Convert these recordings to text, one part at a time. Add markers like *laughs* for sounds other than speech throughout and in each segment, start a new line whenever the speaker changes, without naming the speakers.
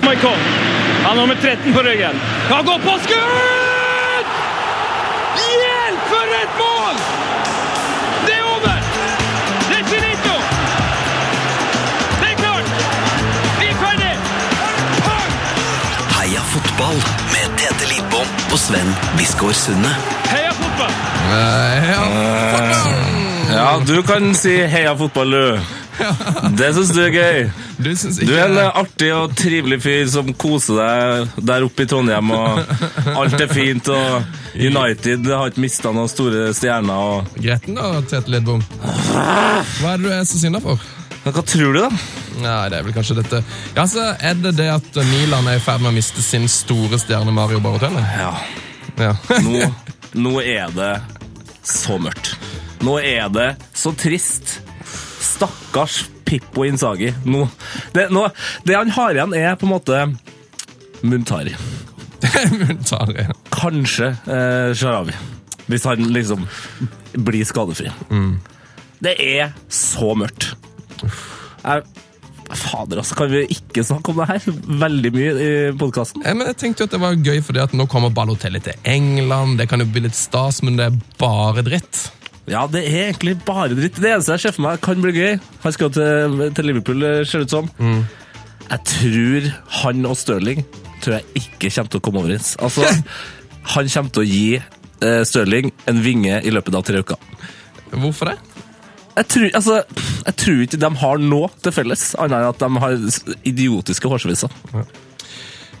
Boikov. Han har nummer 13 på ryggen. Han går på skudd! Hjelp, for et mål! Det er over! Det er finito! Det er klart! Vi er ferdig! Pang!
Heia fotball med Tete Lidbom og Sven Biskår Sunde.
Heia fotball!
Eh,
Ja, du kan si heia fotball, du. Det syns du er gøy.
Du syns
Du
ikke
er en artig og trivelig fyr som koser deg der oppe i Trondheim, og alt er fint, og United har ikke mista noen store stjerner, og
gretten da, Tete Lidbom? Hva er det du er så sinna for?
Men Hva tror du, da?
Nei, det er vel kanskje dette Ja, så er det det at Milan er i ferd med å miste sin store stjerne Mario Barotelli?
Ja,
Ja. *laughs*
nå, nå er det så mørkt. Nå er det så trist. Stakkars Pippo Inzaghi. Nå, det, nå, det han har igjen, er på en måte Muntari.
Muntari.
kanskje eh, Sharawi. Hvis han liksom blir skadefri. Det er så mørkt. Jeg, fader, altså. Kan vi ikke snakke om det her veldig mye i podkasten?
Eh, Men jeg tenkte jo at det var gøy fordi at nå kommer Balotelli til England. Det kan jo bli litt stas, men det er bare dritt.
Ja, det er egentlig bare dritt. Det eneste jeg ser for meg kan bli gøy Han skal jo til, til Liverpool, eh, ser det ut som. Jeg tror han og Stirling tror jeg ikke kommer til å komme overens. Altså, *laughs* han kommer til å gi eh, Stirling en vinge i løpet av tre uker.
Hvorfor det?
Jeg tror, altså, jeg tror ikke de har noe til felles, annet enn at de har s- idiotiske hårsviser.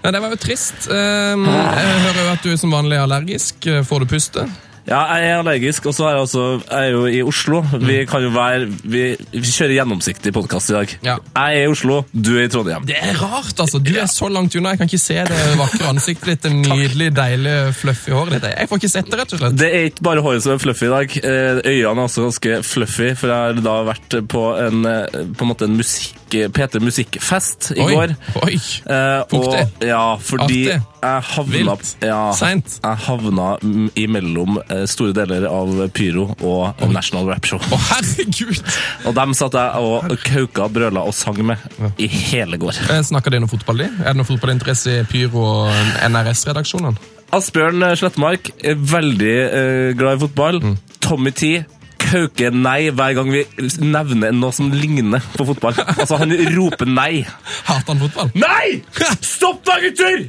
Ja, det var jo trist. Ehm, Jeg hører jo at du som vanlig er allergisk. Eh, Får du puste?
Ja, jeg er allergisk, og så er jeg, også, jeg er jo i Oslo. Vi kan jo være Vi, vi kjører gjennomsiktig podkast i dag.
Ja.
Jeg er i Oslo, du er i Trondheim.
Det er rart, altså. Du er så langt unna. Jeg kan ikke se det vakre ansiktet ditt.
*laughs*
Det nydelig, deilige, fluffy håret ditt. Jeg får ikke sett det, rett og slett.
Det er ikke bare håret som er fluffy i dag. Eh, Øynene er også ganske fluffy, for jeg har da vært på en, eh, på en, måte en musikk, P3 Musikkfest i
Oi,
går.
oi.
Eh,
Fuktig.
og- Ja, fordi
Artig.
jeg havna,
Vilt.
ja,
Seint.
jeg havna m- imellom eh, store deler av Pyro og National Rap Show.
Å, herregud!
Og dem satt jeg og kauka, brøla og sang med i hele går.
Eh, Snakker de noe fotball, de? Er det noe fotballinteresse i Pyro og NRS-redaksjonene?
Asbjørn eh, Slettmark er veldig eh, glad i fotball. Tommy T kauker nei hver gang vi nevner noe som ligner på fotball. Altså, han roper nei.
Hater han fotball?
Nei! Stopp da, gutter!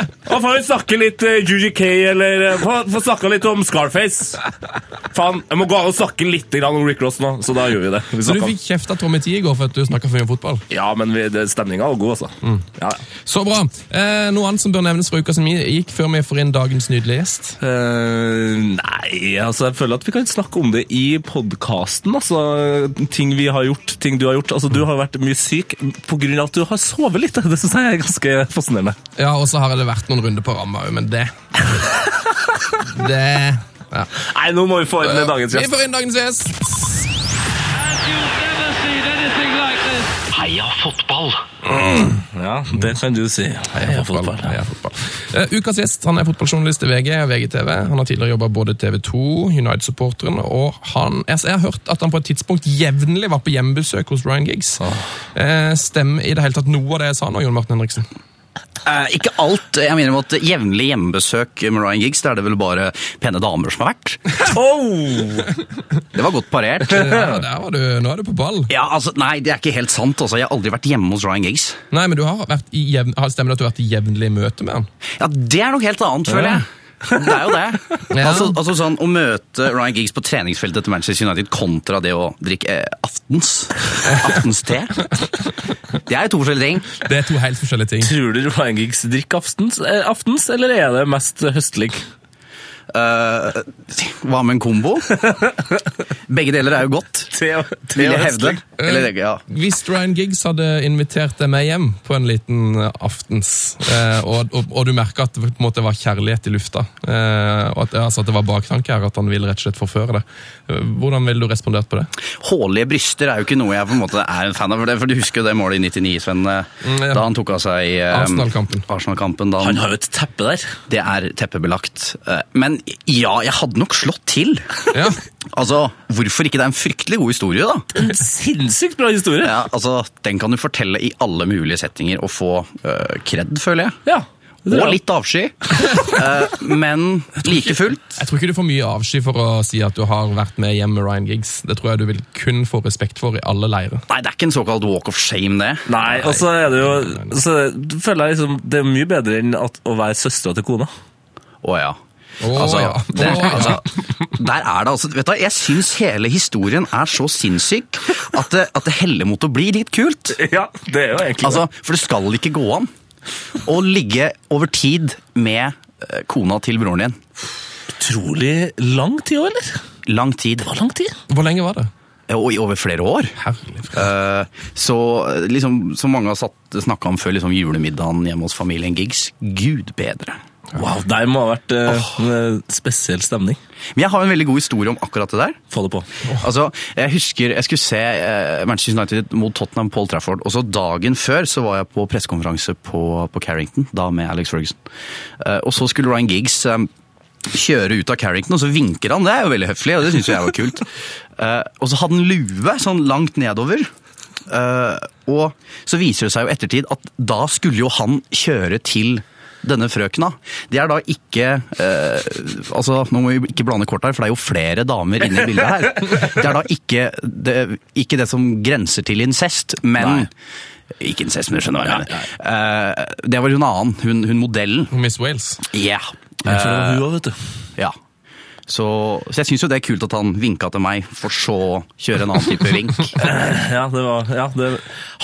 Da får vi snakke litt uh, UGK, eller eh, Få få snakke litt om Scarface. Faen, jeg må gå an og snakke litt grann om Rick Ross nå, så da gjør vi det.
Så
Vi
du
snakker om-
fikk kjeft av Tommy Tee i går for at du snakka for mye om fotball?
Ja, men vi- det- stemninga var god, altså. Ja, ja.
Så bra. Eh, noe annet som bør nevnes fra uka som gikk, før vi får inn dagens nydelige gjest?
Eh, nei, altså jeg føler at vi kan snakke om det i podkasten. Altså, ting vi har gjort, ting du har gjort. Altså, Du har vært mye syk pga. at du har sovet litt. *laughs* Det syns jeg er ganske fascinerende.
Ja, og så har det vært noen runder på ramma òg, men det Det
*laughs*
ja.
Nei, nå må vi få inn dagens
Vi
gjest.
får inn dagens gjest.
And you've never seen anything like this.
Heia fotball!
Ja, Det kan du si. Heia fotball.
Heia fotball. Eh, ukas gjest han er fotballjournalist i VG og VGTV. Han har tidligere jobba både TV 2, United-supporteren, og han jeg, jeg har hørt at han på et tidspunkt jevnlig var på hjemmebesøk hos Ryan Giggs. Eh, stemmer i det hele tatt noe av det jeg sa nå, Jon Martin Henriksen?
Eh, ikke alt. Jeg mener om at jevnlig hjemmebesøk med Ryan Giggs, det er det vel bare pene damer som har vært.
Oh!
Det var godt parert.
Ja, der var du. Nå er du på ball.
Ja, altså, Nei, det er ikke helt sant. altså. Jeg har aldri vært hjemme hos Ryan Giggs.
Nei, men du har vært i jevn, har- Stemmer det at du har vært i jevnlig møte med han?
Ja, Det er noe helt annet, føler jeg. Det er jo det.
Ja.
Altså, altså sånn, Å møte Ryan Giggs på treningsfeltet til Manchester United kontra det å drikke eh, aftens aftenste. Det er jo to forskjellige ting.
Det er to helt forskjellige ting.
Tror du Ryan Giggs drikker aftens, eh, aftens, eller er det mest høstlig?
Eh, hva med en kombo? Begge deler er jo godt,
Til,
vil jeg hevde. Eller, ja.
Hvis Ryan Giggs hadde invitert deg med hjem på en liten eh, aftens, eh, og, og, og du merka at det på en måte var kjærlighet i lufta, eh, og at, altså at det var baktanke her, at han ville rett og slett forføre det, eh, hvordan ville du respondert på det?
Hårlige bryster er jo ikke noe jeg på en måte er en fan av. For, det, for Du husker jo det målet i 99, Sven, eh,
ja.
da han tok av seg eh,
Arsenal-kampen.
Arsenal-kampen, da
Han
han,
har jo et teppe der.
Det er teppebelagt. Eh, Men ja, jeg hadde nok slått til. *laughs*
Ja.
Altså, Hvorfor ikke? Det er en fryktelig god god historie, da.
En sinnssykt bra historie!
Ja, altså, Den kan du fortelle i alle mulige settinger og få øh, kred, føler jeg.
Ja, det tror
Og
jeg.
litt avsky, *laughs* Eh, men like fullt.
Jeg tror ikke du får mye avsky for å si at du har vært med hjem med Ryan Giggs. Det tror jeg du vil kun få respekt for i alle leirer.
Nei, det er ikke en såkalt walk of shame, det.
Nei, og så er det jo så føler jeg liksom, Det er mye bedre enn at, å være søstera til kona.
Å ja. Altså,
Å, ja.
det,
Å, ja.
*laughs* altså, der er det altså vet du, hva, Jeg syns hele historien er så sinnssyk at det, at det heller mot å bli litt kult.
Ja, det er jo egentlig
Altså, For det skal ikke gå an å ligge over tid med eh, kona til broren din.
Utrolig lang tid òg, eller?
Lang tid, Eh,
Hva lang tid?
Hvor lenge var det?
og i over flere år.
Herlig. fred.
Eh, Så eh, liksom, som mange har snakka om før, liksom julemiddagen hjemme hos familien Giggs. Gud bedre.
Wow, det må ha vært eh, en eh, spesiell stemning.
Men jeg har en veldig god historie om akkurat det der.
Få det på.
*laughs* Altså, jeg husker jeg skulle se eh, Manchester United mot Tottenham Paul Trafford. Og så dagen før så var jeg på pressekonferanse på, på Carrington, da med Alex Ferguson. Eh, og så skulle Ryan Giggs eh, kjøre ut av Carrington, og så vinker han. Det er jo veldig høflig, og det syns jo jeg var kult. *laughs* Eh, og så hadde han lue sånn langt nedover. Eh, og så viser det seg jo i ettertid at da skulle jo han kjøre til denne frøkena. Det er da ikke eh, altså Nå må vi ikke blande kort her, for det er jo flere damer inne i bildet her. Det er da ikke det, ikke det som grenser til incest, men
Nei.
Ikke incest, men du skjønner hva jeg mener. Eh, det var hun annen, hun, hun modellen.
Miss Wales.
Yeah.
Jeg tror det var hun også, vet du.
Ja. Så, så jeg syns jo det er kult at han vinka til meg, for så å kjøre en annen type *laughs* vink.
*laughs* Ja, det var, ja, det,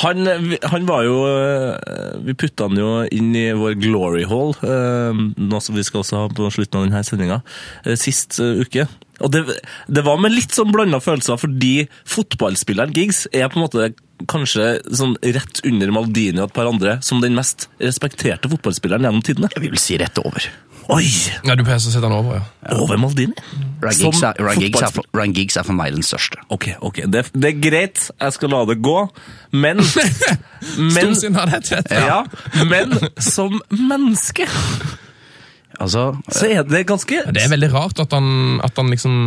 han, han var jo eh, Vi putta han jo inn i vår glory hall, eh, noe som vi skal også ha på slutten av denne sendinga, eh, sist eh, uke. Og det, det var med litt sånn blanda følelser, fordi fotballspilleren Giggs er på en måte kanskje sånn rett under Maldini og et par andre som den mest respekterte fotballspilleren gjennom tidene.
Jeg vil si rett over.
Oi!
Ja, du pleier å sette den over, ja.
Over Maldini?
Ryan
Som
Giggs er, Ryan Giggs er,
fotballspiller-
for- Ryan Giggs er for meg den største.
Ok, ok. Det, det er greit, jeg skal la det gå,
*laughs*
men, men
Stund siden hadde jeg tett.
Ja, men som menneske
Altså,
så er det ganske
Det er veldig rart at han, at han liksom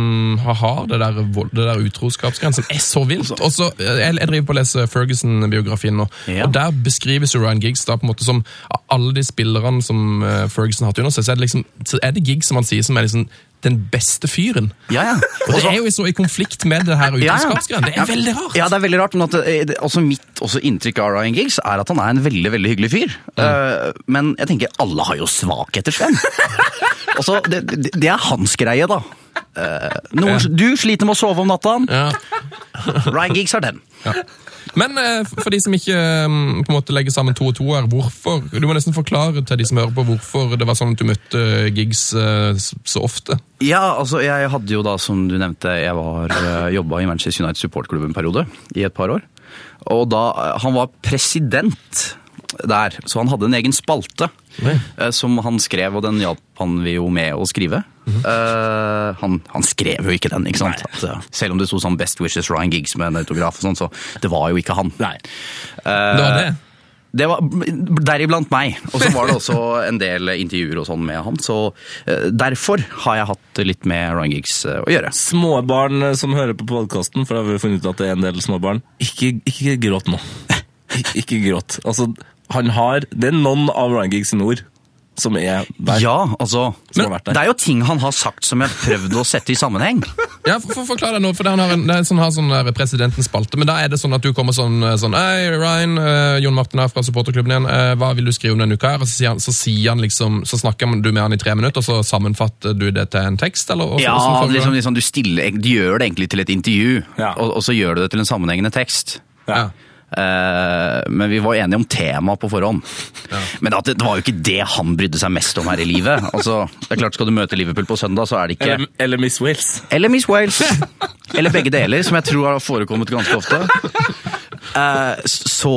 har, har det der, vold- det der utroskapsgrensen. er så vilt. Og så, jeg, jeg driver på å lese Ferguson-biografien nå,
Altså- Ja.
og der beskrives jo Ryan Giggs da på en måte som av alle de spillerne som eh, Ferguson har hatt under seg, så er det, liksom, så er det Giggs som han sier som er liksom den beste fyren.
ja, ja.
*laughs* Og det er jo så i konflikt med det her
Ja, ja.
utroskapsgreiene. Det
Ja.
er veldig rart.
Ja, det er veldig rart, men at, eh, det- også mitt også inntrykk av Ryan Giggs er at han er en veldig veldig hyggelig fyr.
Mm.
Eh, men jeg tenker, alle har jo svakheter,
*laughs*
Sven. altså, det, det, det er hans greie, da. Eh, noen, Du sliter med å sove om natta.
Ja.
Ryan Giggs har den.
Men eh, for de som ikke eh, på en måte legger sammen to og to her, hvorfor, du må nesten forklare til de som hører på hvorfor det var sånn at du møtte Giggs eh, s- så ofte.
Ja, altså jeg hadde jo da, som du nevnte, jeg var eh, jobba i Manchester United supportklubb en periode i et par år. Og da eh, han var president der, så han hadde en egen spalte
Oi.
eh, som han skrev, og den hjalp han vi jo med å skrive. Eh, han, han skrev jo ikke den, ikke sant? At, eh, selv om det sto sånn 'Best Wishes Ryan Giggs' med en autograf og sånn, så det var jo ikke han.
Nei.
Eh,
Det var det.
det var deriblant meg, og så var det også en del intervjuer og sånn med han. Så eh, derfor har jeg hatt litt med Ryan Giggs eh, å gjøre.
Små barn eh, som hører på podkasten, for da har vi funnet ut at det er en del små barn. Ikke, ikke gråt nå. Ik- *laughs* Ikke gråt. Altså, han har Det er noen av Ryan Giggs sine ord som er der.
Ja, altså
Som
men
har vært der.
Det er jo ting han har sagt som jeg har prøvd å sette i sammenheng.
*laughs*
Ja, for, for Forklar deg nå, for det han har en, det er sånn, har sånn der presidentens spalte. Men da er det sånn at du kommer sånn, eh, sånn Hei, Ryan, eh, Jon Martin her fra supporterklubben igjen. eh, hva vil du skrive om denne uka? her? Og så sier, han, så sier han liksom Så snakker man- du med han i tre minutter, og så sammenfatter du det til en tekst, eller? Og så-
Ja,
hvordan foregår
liksom,
det?
liksom du, stiller, du gjør det egentlig til et intervju,
Ja.
og, og så gjør du det til en sammenhengende tekst.
ja.
Eh, men vi var enige om temaet på forhånd. Men at det, det var jo ikke det han brydde seg mest om her i livet. Altså, det er klart Skal du møte Liverpool på søndag, så er det ikke
Eller, eller Miss Wales.
Eller Miss Wales. Eller begge deler, som jeg tror har forekommet ganske ofte. Eh, så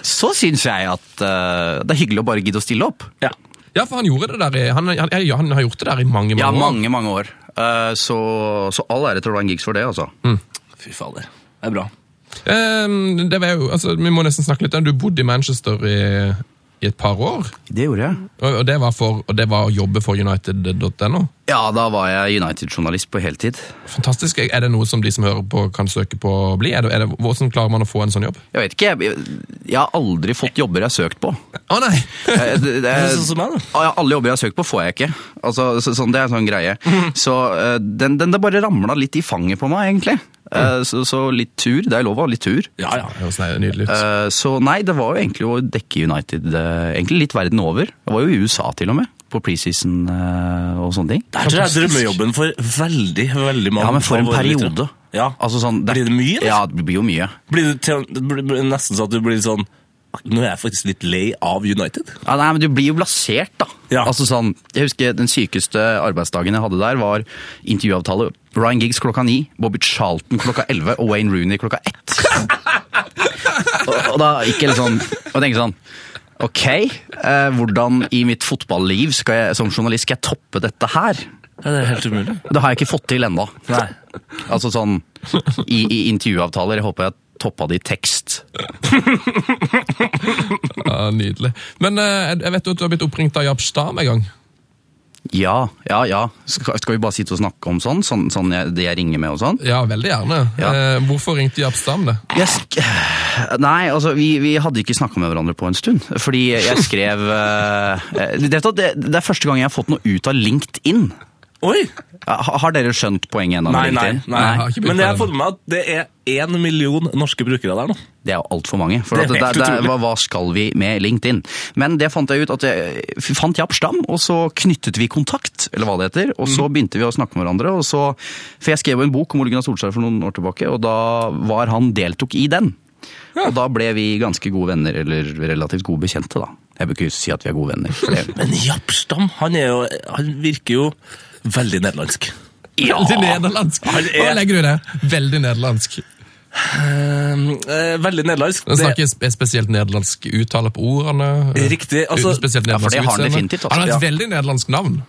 så syns jeg at eh, det er hyggelig å bare gidde å stille opp.
Ja.
ja, for han gjorde det der i, han, han, ja, han har gjort det der i mange, mange
Ja,
år.
mange, mange år. Eh, så, så all ære til Ryan Giggs for det, altså.
Fy fader. Det er bra.
Ehm, det var jo, altså, vi må nesten snakke litt om Du bodde i Manchester i i et par år.
Det gjorde jeg.
Og og det var, for, og det var å jobbe for united.no.
Ja, da var jeg United-journalist på heltid.
Fantastisk. Er det noe som de som hører på, kan søke på å bli? Er det, er det, hvordan klarer man å få en sånn jobb?
Jeg vet ikke, jeg, jeg har aldri fått jobber jeg har søkt på.
*laughs* Å nei!
Eh, det- det-
Det er sånn som meg, da.
Ja, alle jobber jeg har søkt på, får jeg ikke. Altså, så, sånn, det er en sånn greie. Så eh, den, den det bare ramla litt i fanget på meg, egentlig. Eh, Så, så litt tur. Det er lov å ha litt tur.
Ja, ja.
Det høres nydelig ut.
Eh, Så nei, det var jo egentlig å dekke United eh, egentlig litt verden over. Jeg var jo i USA til og med, på preseason eh, og sånne ting.
Der tror jeg drømmejobben for veldig, veldig mange.
Ja, men for en
av våre lyttere.
periode.
Ja.
Altså sånn,
Blir det mye, eller?
Ja, det blir jo mye.
Blir det, til, det blir blir nesten så at du blir sånn Nå er jeg faktisk litt lei av United.
Ja, nei, men du blir jo blasert, da.
Ja.
Altså sånn, jeg husker Den sykeste arbeidsdagen jeg hadde der, var intervjuavtale. Ryan Giggs klokka ni, Bobby Charlton klokka elleve og Wayne Rooney klokka ett. og, og da gikk jeg litt sånn og tenkte sånn Ok, eh, hvordan i mitt fotballiv skal jeg, som journalist skal jeg toppe dette her?
Ja, det er helt umulig.
Det har jeg ikke fått til ennå. Altså sånn i, i intervjuavtaler. Jeg håper jeg toppa det i tekst.
Ja, nydelig. Men eh, jeg vet jo at du har blitt oppringt av Jaap Stam en gang.
Ja, ja, ja. Skal, skal vi bare sitte og snakke om sånn? Sånn, sånn jeg, det jeg ringer med og sånn?
Ja, veldig gjerne.
Ja.
Eh, hvorfor ringte Jaap Stam det?
Jeg sk Nei, altså, vi, vi hadde ikke snakka med hverandre på en stund. Fordi jeg skrev eh, det, vet du hva, det, det er første gang jeg har fått noe ut av LinkedIn.
Oi!
Ha, har dere skjønt poenget ennå?
Nei,
med
nei.
LinkedIn?
nei.
jeg har ikke begynt
Men
på
jeg har
det.
fått med meg at det er én million norske brukere der nå.
Det er jo altfor mange. For
Det er
at det,
helt
det, det,
utrolig.
hva, hva skal vi med LinkedIn? Men det fant jeg ut at jeg f- fant Japp Stam, og så knyttet vi kontakt, eller hva det heter. Og så
Mm.
begynte vi å snakke med hverandre. Og så, for jeg skrev jo en bok om Ole Gunnar Solskjær for noen år tilbake, og da var han deltok i den. Og da ble vi ganske gode venner, eller relativt gode bekjente, da. Jeg bør ikke si at vi er gode venner. For det.
Men Japstam, han, er jo, han virker jo veldig nederlandsk.
Veldig nederlandsk!
Han er-
Hva legger du i det? Veldig nederlandsk.
Um, eh, veldig nederlandsk.
Han
Det
snakker sp- spesielt nederlandsk uttale på ordene. eh,
Riktig, altså-
uten spesielt
Ja, for det
nederlandsk
har han
utseende.
definitivt, altså.
Han har et
Ja.
veldig nederlandsk navn.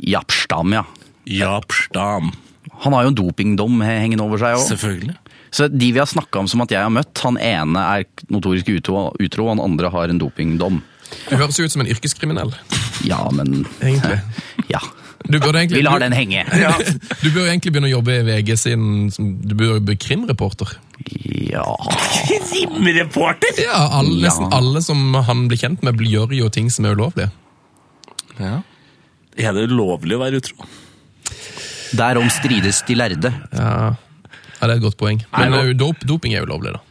Japp Stam, ja.
Japstam,
Han har jo en dopingdom he- hengende over seg òg.
selvfølgelig.
Så de vi har snakka om som at jeg har møtt, han ene er notorisk utro, utro og han andre har en dopingdom.
Du høres jo ut som en yrkeskriminell.
Ja, men eh,
Egentlig.
Ja.
Du burde egentlig,
Vi lar den henge.
Ja. *laughs* Du bør jo egentlig begynne å jobbe i VG sin som- Du bør jo bli krimreporter.
Ja
Krimreporter!
Ja, alle, Nesten alle som han blir kjent med, blir- gjør jo ting som er ulovlige.
Er det ulovlig å være utro?
Derom strides de lærde.
Ja, ja det er et godt poeng. Men
Nei, nå-
eh, dop, doping er ulovlig, da.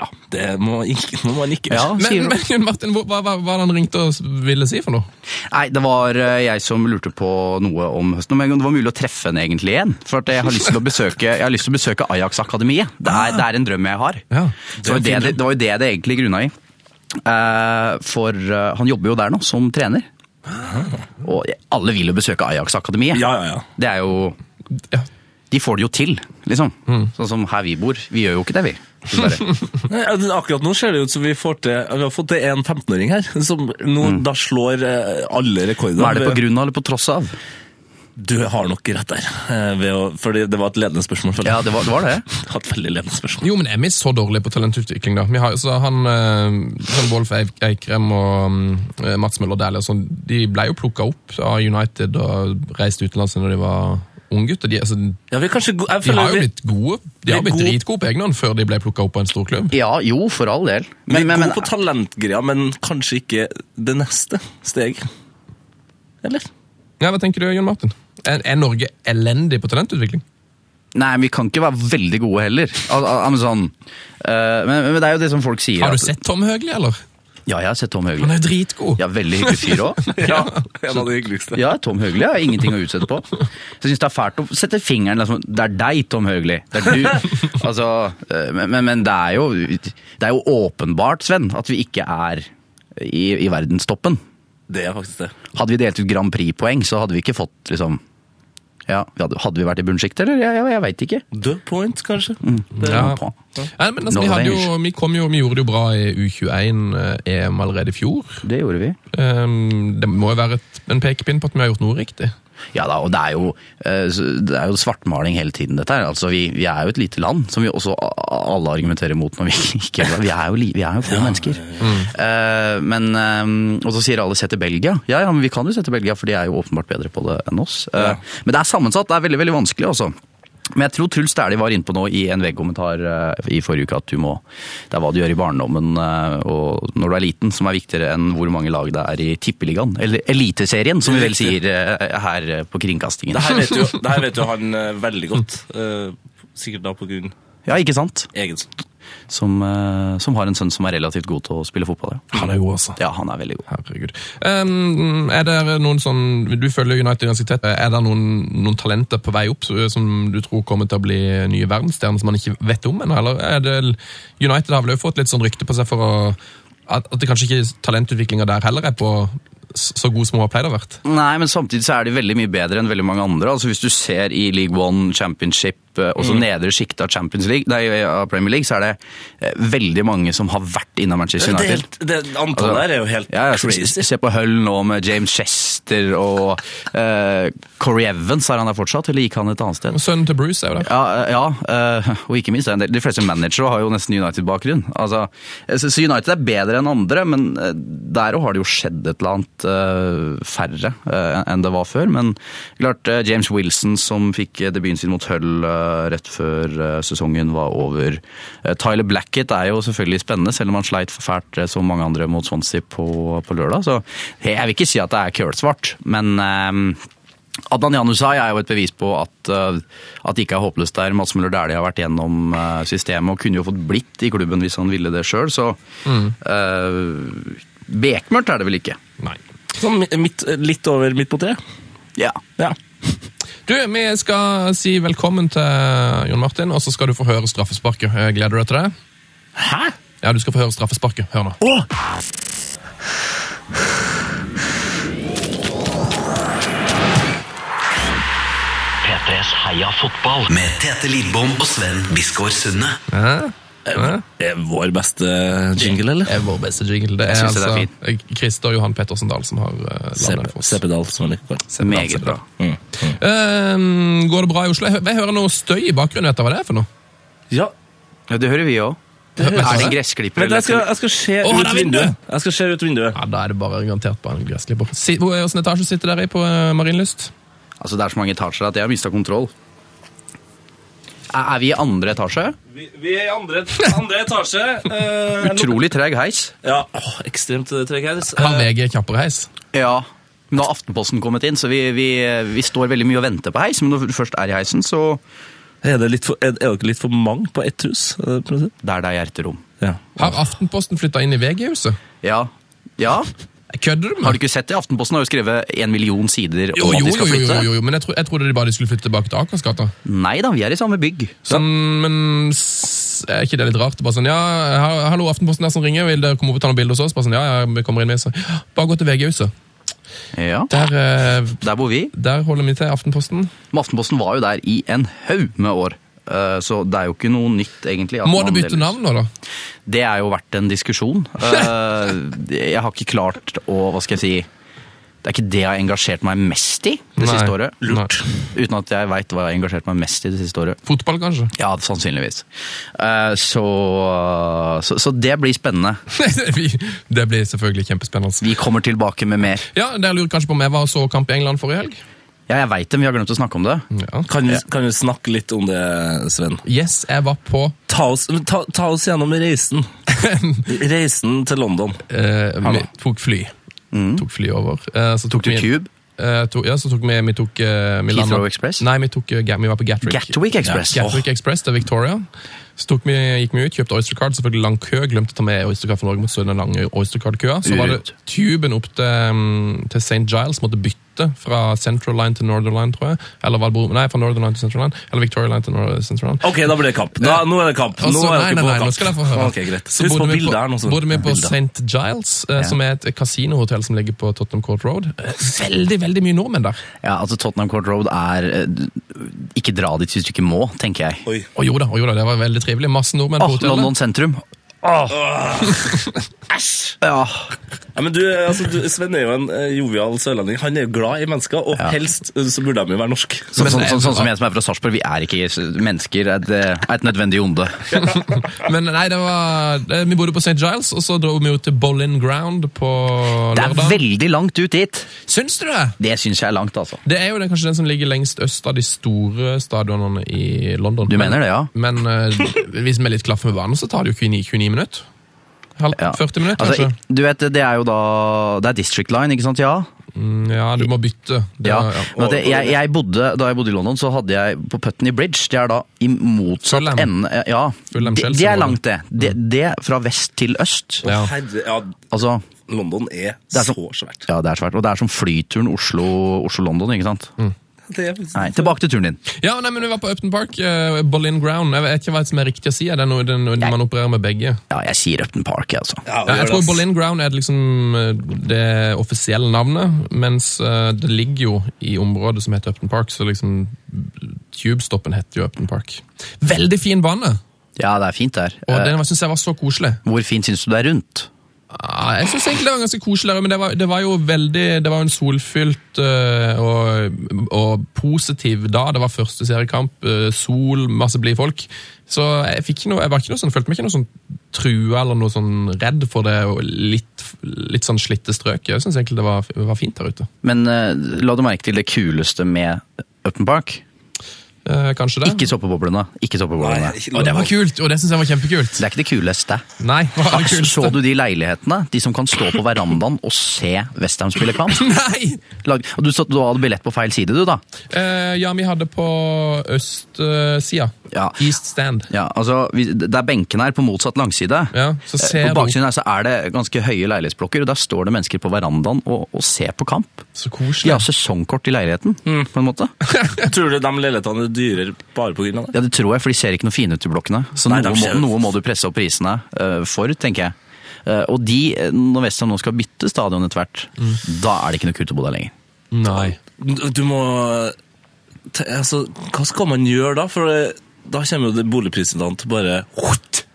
Ja, det må, ikke, må man ikke.
Ja.
Men,
Sier du.
men Jon Martin, hva, hva, hva var det han ringte og s- ville si for noe?
Nei, det var eh, jeg som lurte på noe om høsten. Men det var mulig å treffe henne egentlig igjen. For at jeg har lyst til å besøke, jeg har lyst til å besøke Ajax-akademiet. Det, er- det er en drøm jeg har.
Ja,
Så det, var det, det, det var jo det det egentlig grunna i. Eh, for eh, han jobber jo der nå, som trener.
Ah.
Og alle vil jo besøke Ajax-akademiet.
Ja, ja, ja.
Det er jo
Ja.
De får det jo til, liksom.
Mm.
Sånn som her vi bor. Vi gjør jo ikke det, vi. Dessverre.
Nei, altså, Akkurat nå ser det ut som vi, får til, vi har fått til en 15-åring her, som nå da slår eh, alle rekorder.
Hva er det på grunn av eller på tross av?
Du har nok rett der, eh, ved å, fordi det var et ledende spørsmål. føler jeg.
Ja, det var det. Var det.
Det var et veldig ledende spørsmål.
Jo, men er vi så dårlige på talentutvikling, da? Vi har, så han, eh, han Wolf Eik- Eikrem og eh, Mats Møller Dæhlie og sånn, de ble jo plukka opp av United og reiste utenlands når de var unggutter. De, altså, de
Ja, vi er kanskje, go- jeg føler
har jo
vi-
blitt gode. De har
Vi er
blitt
gode-
dritgode på egen hånd før de ble plukka opp av en stor klubb.
Ja, jo, for all del.
Vi
Men,
er
men, men
gode på talentgreia, men kanskje ikke det neste steg. Eller?
Ja, Hva tenker du, Jon Martin? Er, er Norge elendig på talentutvikling?
Nei, vi kan ikke være veldig gode heller. Al al al sånn. eh, men, men det er jo det som folk sier.
Har
at-
du sett Tom Høgli, eller?
Ja, jeg har sett Tom
Han
Høgli.
er jo dritgod.
Ja, veldig hyggelig fyr *laughs* òg.
Ja, *laughs* en av de hyggeligste.
Ja, Tom Høgli har ingenting å utsette på. Så jeg syns det er fælt å sette fingeren liksom, Det er deg, Tom Høgli. Det er *laughs* du. Altså, eh, men, men, men det er jo Det er jo åpenbart, Sven, at vi ikke er i, i verdenstoppen.
Det er faktisk det.
Hadde vi delt ut Grand Prix-poeng, så hadde vi ikke fått liksom ja, vi hadde, hadde vi vært i bunnsjiktet, eller? Jeg, jeg, jeg veit ikke.
The point, kanskje. Det-
Ja.
på.
Nei, men altså, vi,
Norge.
hadde jo, vi, kom jo, vi gjorde det jo bra i U21-EM allerede i fjor.
Det gjorde vi.
Ehm, det må jo være et, en pekepinn på at vi har gjort noe riktig.
Ja da, og det er jo, eh, s- det er jo svartmaling hele tiden, dette her. Altså, vi, vi er jo et lite land, som vi også a- alle argumenterer mot når vi *laughs* ikke Vi er jo, li- vi er jo få mennesker. Eh, men, eh, og så sier alle se til Belgia. Ja ja, men vi kan jo se til Belgia, for de er jo åpenbart bedre på det enn oss. Eh, Men det er sammensatt, det er veldig, veldig vanskelig, altså. Men jeg tror Truls Dæhlie var inne på nå i en veggkommentar eh, i forrige uke at du må, det er hva du gjør i barndommen eh, og når du er liten som er viktigere enn hvor mange lag det er i Tippeligaen. Eller Eliteserien, som vi vel sier eh, her eh, på kringkastingen.
Det her vet jo, det her vet jo han eh, veldig godt. eh, sikkert da på grunn
Ja, ikke sant?
Egensen.
Som, eh, som har en sønn som er relativt god til å spille fotball. Ja,
Han er god, altså.
ja han er veldig god.
Herregud. Um, er det noen sånn, Du følger United ganske tett. Er det noen, noen talenter på vei opp så- som du tror kommer til å bli nye verdensstjerner som man ikke vet om ennå? Eller er det, United har vel også fått litt sånn rykte på seg for å, at, at det kanskje ikke talentutviklinga der heller er på s- så god som hun har pleid å vært?
Nei, men samtidig så er de veldig mye bedre enn veldig mange andre. Altså Hvis du ser i League One, Championship, eh, også
Mm.
nedre sjiktet av Champions League, nei, av Premier League, så er det eh, veldig mange som har vært innom Manchester
Det, er
United.
helt- det, antallet her er jo helt
Ja, ja, se-
crazy.
Se på Hull nå med James Chester og eh, Corey Evans, er han der fortsatt, eller gikk han et annet sted?
Sønnen til Bruce er jo der.
Ja, eh, ja eh, og ikke minst, det er en del- de fleste managere har jo nesten United-bakgrunn. Altså, jeg synes United er bedre enn andre, men eh, der òg har det jo skjedd et eller annet eh, færre eh, enn det var før. Men klart, eh, James Wilson som fikk eh, debuten sin mot Hull eh, rett før eh, sesongen var over. Eh, Tyler Blackett er jo selvfølgelig spennende, selv om han sleit for fælt eh, som mange andre mot Swansea på, på lørdag. Så jeg vil ikke si at det er kølsvart, men eh, Adnan Janusai er jo et bevis på at, eh, at det ikke er håpløst der. Mats Møller Dæhlie har vært gjennom eh, systemet og kunne jo fått blitt i klubben hvis han ville det sjøl, så eh, Bekmørkt er det vel ikke?
Nei.
Sånn mi- midt, litt over midt på tre.
Ja.
Ja.
Du, Vi skal si velkommen til Jon Martin, og så skal du få høre straffesparket. Jeg Gleder du deg til det?
Hæ?
Ja, du skal få høre straffesparket. Hør nå.
Å!
P3s Heia fotball med Tete Lidbom og Sven Biskår Sunne.
Hæ? Hæ?
Det er vår beste eh, jingle, eller?
Det er vår beste jingle. Det er
synes det er
altså Christer Johan Pettersen Dahl som har eh, landet den for oss.
CP-Dal, som han liker.
Meget bra.
Ehm, går det bra i Oslo? Jeg hø- jeg hører noe støy i bakgrunnen. Vet du hva det er for noe?
Ja,
Ja, det hører vi òg. Er det en gressklipper?
Vent,
eller-
jeg skal, jeg skal se
Å,
ut
der er
vinduet.
vinduet!
Jeg skal se ut vinduet.
Ja, Da er det bare garantert bare en gressklipper. Si, hvor- Hvordan etasje sitter dere i på eh, Marienlyst?
Altså, det er så mange etasjer at jeg har mista kontroll. Er er vi i andre etasje?
Vi, er i andre, etasje. eh,
Utrolig treg heis.
ja, åh, ekstremt eh, treg heis.
Har VG kjappere heis?
Ja. Men nå har Aftenposten kommet inn, så vi, vi, vi står veldig mye og venter på heis. Men når du først er i heisen, så
Eh, Er det litt for, er, er dere litt for mange på ett hus? Er det på en måte?
Der det er hjerterom.
Ja.
Har Aftenposten flytta inn i VG-huset?
Ja. Ja,
Kødder du
Har
med
du ikke sett det? Aftenposten har jo skrevet en million sider om
jo,
at de
jo, jo,
skal
jo,
flytte.
jo, jo, men jeg, tro, jeg trodde de bare skulle flytte tilbake til Akersgata.
Nei da, vi er i samme bygg.
Sånn, men s- er ikke det litt rart? Bare sånn, ja, ha- Hallo, Aftenposten der som ringer, vil dere komme opp og ta noen bilder hos oss? Bare sånn, ja, ja, vi kommer inn med, så. Bare gå til VG-huset.
Ja,
Der eh,
Der bor vi.
Der holder vi til Aftenposten.
Men Aftenposten var jo der i en haug med år. Eh, Så det er jo ikke noe nytt, egentlig. at
Må
man
du bytte
deler-
navn nå, da?
Det er jo vært en
*laughs*
diskusjon. Eh, Jeg har ikke klart å Hva skal jeg si Det er ikke det jeg har engasjert meg mest i det
Nei.
siste året.
Lurt.
Uten at jeg veit hva jeg har engasjert meg mest i det siste året.
Fotball, kanskje? *laughs*
Ja, sannsynligvis. Eh, Så, så, så det blir spennende.
Vi- det blir selvfølgelig kjempespennende.
Vi kommer tilbake med mer.
Ja, Dere lurer kanskje på om jeg var og så kamp i England forrige helg?
Ja, jeg veit det, men vi har glemt å snakke om det.
Ja.
Kan, vi, kan vi snakke litt om det, Sven?
Yes, jeg var på *laughs*
Ta oss, ta, ta oss gjennom reisen. Reisen til London.
eh, Vi tok fly. Tok fly over. Eh, så tok
Mm. Tok du
vi-
Tube?
Eh, to, ja, så tok vi, vi tok eh, vi
Heathrow
landet-
Express?
Nei, vi, tok, eh, Ga- vi var på Gatwick.
Gatwick Express?
Ja, Gatwick Express, det er Victoria. Så tok vi, gikk vi ut, kjøpte Oyster Card, selvfølgelig lang kø. Glemte å ta med Oyster Card fra Norge mot den lange Oyster Card-køa. Så var det tuben opp til, mm, til St. Giles, måtte bytte fra Central Line til Northern Line, tror jeg. Eller var det, Bro- nei, fra Northern Line til Central Line. Eller Victoria Line til Nor- Central Line.
Ok, da blir det kamp. Da, nå er det kamp.
Og
Nå
så-
er
Altså, nei,
dere
nei,
på
nei, nå skal jeg få høre.
kamp. Ok, greit.
Så
Husk
bodde
på
vi
bildet her nå. så-
Bodde vi på
Bildet.
St. Giles, eh, som er et kasinohotell som ligger på Tottenham Court Road. Eh, Veldig, veldig mye nordmenn der.
Ja, altså Tottenham Court Road er eh, Ikke dra dit hvis du ikke må, tenker jeg.
Oi.
Å jo da, å jo da, det var veldig trivelig. Masse nordmenn
Ah,
på hotellet.
London sentrum. Ja.
Ja, men du, altså, du, Sven er jo en eh, jovial sørlending. Han er jo glad i mennesker, og helst eh, så burde de jo være norsk.
Sånn, sånn, sånn, sånn som jeg som er fra Sarpsborg, vi er ikke mennesker. Er et, eh, er et nødvendig onde.
Men nei, det var, det, vi bodde på St. Giles, og så dro vi jo til Bollin Ground på
Det er
lørdag.
veldig langt ut dit!
Syns du det?
Det syns jeg er langt, altså.
Det er jo den, kanskje den som ligger lengst øst av de store stadionene i London.
Du mener det, ja?
Men eh, hvis vi er litt klaffe med banen, så tar det jo 29, 29 minutter. Halv,
Ja.
40 minutter,
Altså,
kanskje.
du vet, det er jo da Det er District Line, ikke sant? Ja.
Mm, ja, du må bytte. Det,
Ja,
var-
men at jeg, jeg, jeg bodde, Da jeg bodde i London, så hadde jeg på Putney Bridge Det er da i motsatt
Fulham.
ende eh, Ja,
Fulham,
det,
Chelsea
det
var
er
det.
langt, det. det. Det fra vest til øst.
Ja.
Herre, ja,
Altså,
London er,
Det er
så,
så-
svært.
ja, det er svært. Og det er som flyturen Oslo- Oslo-London, ikke sant?
Det er faktisk-
Nei, tilbake til turen din.
Ja, nei, men vi var på Upton Park, eh, Boleyn Ground. Jeg vet ikke hva som er riktig å si. Det er noe, det er noe man opererer med begge.
Ja, jeg sier Upton Park, jeg, altså.
Ja,
Ja, jeg
gjør
tror
det, ass.
Boleyn Ground er liksom eh, det offisielle navnet, mens eh, det ligger jo i området som heter Upton Park, så liksom Tubestoppen heter jo Upton Park. Veldig fin bane,
Ja, det er fint der.
og
Eh,
den var- synes jeg var så koselig.
Hvor fint syns du det er rundt?
Ah, Jeg synes egentlig det var ganske koselig, men det var, det var jo veldig, det var jo en solfylt eh, og, og positiv dag. Det var første seriekamp, eh, sol, masse blid folk. Så jeg, fikk ikke noe, jeg var ikke noe sånn, følte meg ikke noe sånn trua eller noe sånn redd for det og litt, litt sånn slitte strøk. Jeg synes egentlig det var, det var fint der ute.
Men eh, la du merke til det kuleste med Upton Park?
Eh, kanskje det?
Ikke soppeboblene. Ikke soppeboblene.
Nei, ikke
Å, det var kult, og det synes jeg var kjempekult. *laughs*
Det er ikke det kuleste.
Nei, hva var det
Så så
kuleste?
du de leilighetene? De som kan stå på verandaen og se Westham spille kamp?
Nei!
Lag, og du, satt- du hadde billett på feil side, du, da?
Eh, ja, vi hadde på østsida.
Ja.
East Stand.
Ja, altså, vi, Det er benkene her på motsatt langside.
Ja, så
Eh,
ser
på
du-
baksiden her så er det ganske høye leilighetsblokker, og der står det mennesker på verandaen og, og ser på kamp.
Så
De
koselig.
har sesongkort i leiligheten,
Mm.
på en måte.
*laughs*
Tror du de leilighetene er dyrere bare på grunn av det?
Ja, Det tror jeg, for de ser ikke noe fine ut i blokkene. Så
Nei, de
noe,
ser-
må, noe må du presse opp prisene eh, for, tenker jeg. Eh, og de, eh, når Westham nå skal bytte stadion etter hvert,
Mm.
da er det ikke noe kult å bo der lenger.
Nei.
Du må te- altså, Hva skal man gjøre da? For eh, da kommer jo det boligprisene an til bare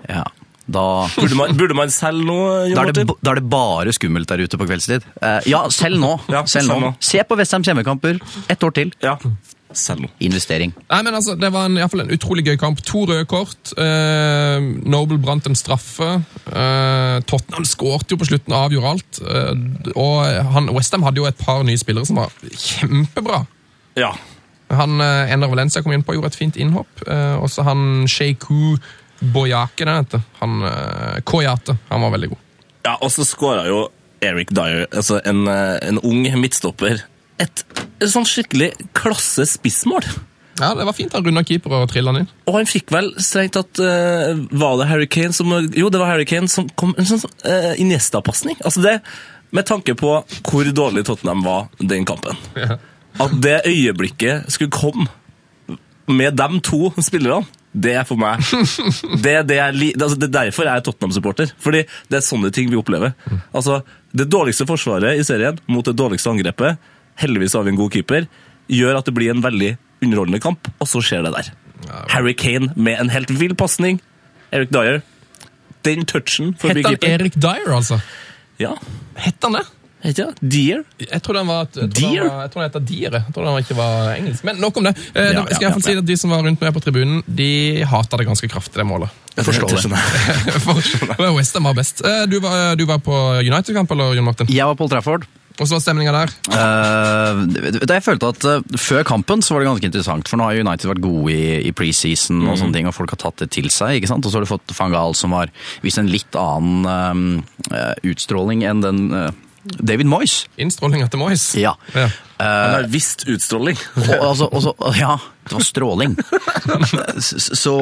Ja, da...
Burde man, burde man selge noe,
Da
Jon
er, det,
Martin?
ba- da er det bare skummelt der ute på kveldstid. Eh, ja, selv nå.
Ja,
selv
selv
nå.
nå.
Se på Vestheims hjemmekamper. Ett år til.
Ja. Selg noe.
Investering.
Nei, men altså, Det var en, i hvert fall en utrolig gøy kamp. To røde kort. Eh, Noble brant en straffe. Eh, Tottenham skårte jo på slutten og avgjorde alt. Eh, og han, Westham hadde jo et par nye spillere som var kjempebra.
Ja.
Han eh, Ener Valencia kom inn på og gjorde et fint innhopp. Eh, også han Sheiku Boyake, den heter. Han eh, Koyate. Han var veldig god.
ja og så skåra jo Eric Dyer, altså en, eh, en ung midtstopper, et, et sånn skikkelig klasse spissmål.
Ja, Det var fint. Han runda keeper og trilla han inn.
Og han fikk vel strengt tatt eh, Var det Harry Kane som Jo, det var Harry Kane som kom en sånn uh, Iniesta-pasning. Altså det Med tanke på hvor dårlig Tottenham var den kampen. At det øyeblikket skulle komme med dem to spillerne, det er for meg Det, er det, jeg, li- altså det er derfor jeg er Tottenham-supporter. Fordi det er sånne ting vi opplever. Altså, Det dårligste forsvaret i serien mot det dårligste angrepet, heldigvis har vi en god keeper, gjør at det blir en veldig underholdende kamp, og så skjer det der. Harry Kane med en helt vill pasning. Eric Dyer. Den touchen forbi
Het han
keeper.
Erik Dyer, altså?
Ja,
Het han det?
heter det? Deer?
Jeg trodde han var et- jeg trodde han
Deer?
var- jeg trodde han het Dier. Jeg trodde han ikke var engelsk. Men nok om det. Eh,
Ja,
da skal
ja,
jeg i hvert fall si
ja.
at De som var rundt meg på tribunen, de hata det ganske kraftig, det
*laughs*
målet.
Forstår det. sånn,
For Westham var best. Eh, Du var, du var på United-kamp, eller, Jon Martin?
Jeg var på Old Trafford.
Hvordan var stemninga der?
Eh, da jeg følte at eh, Før kampen så var det ganske interessant, for nå har United vært gode i, i preseason, og sånne ting, og folk har tatt det til seg. ikke sant? Og så har du fått Fangal, som har vist en litt annen eh, eh, utstråling enn den eh, David Moyes.
Innstrålinga til Moyes?
Ja.
Ja.
Han har visst utstråling.
Og, altså, og så, ja, det var stråling. *laughs* S- Så,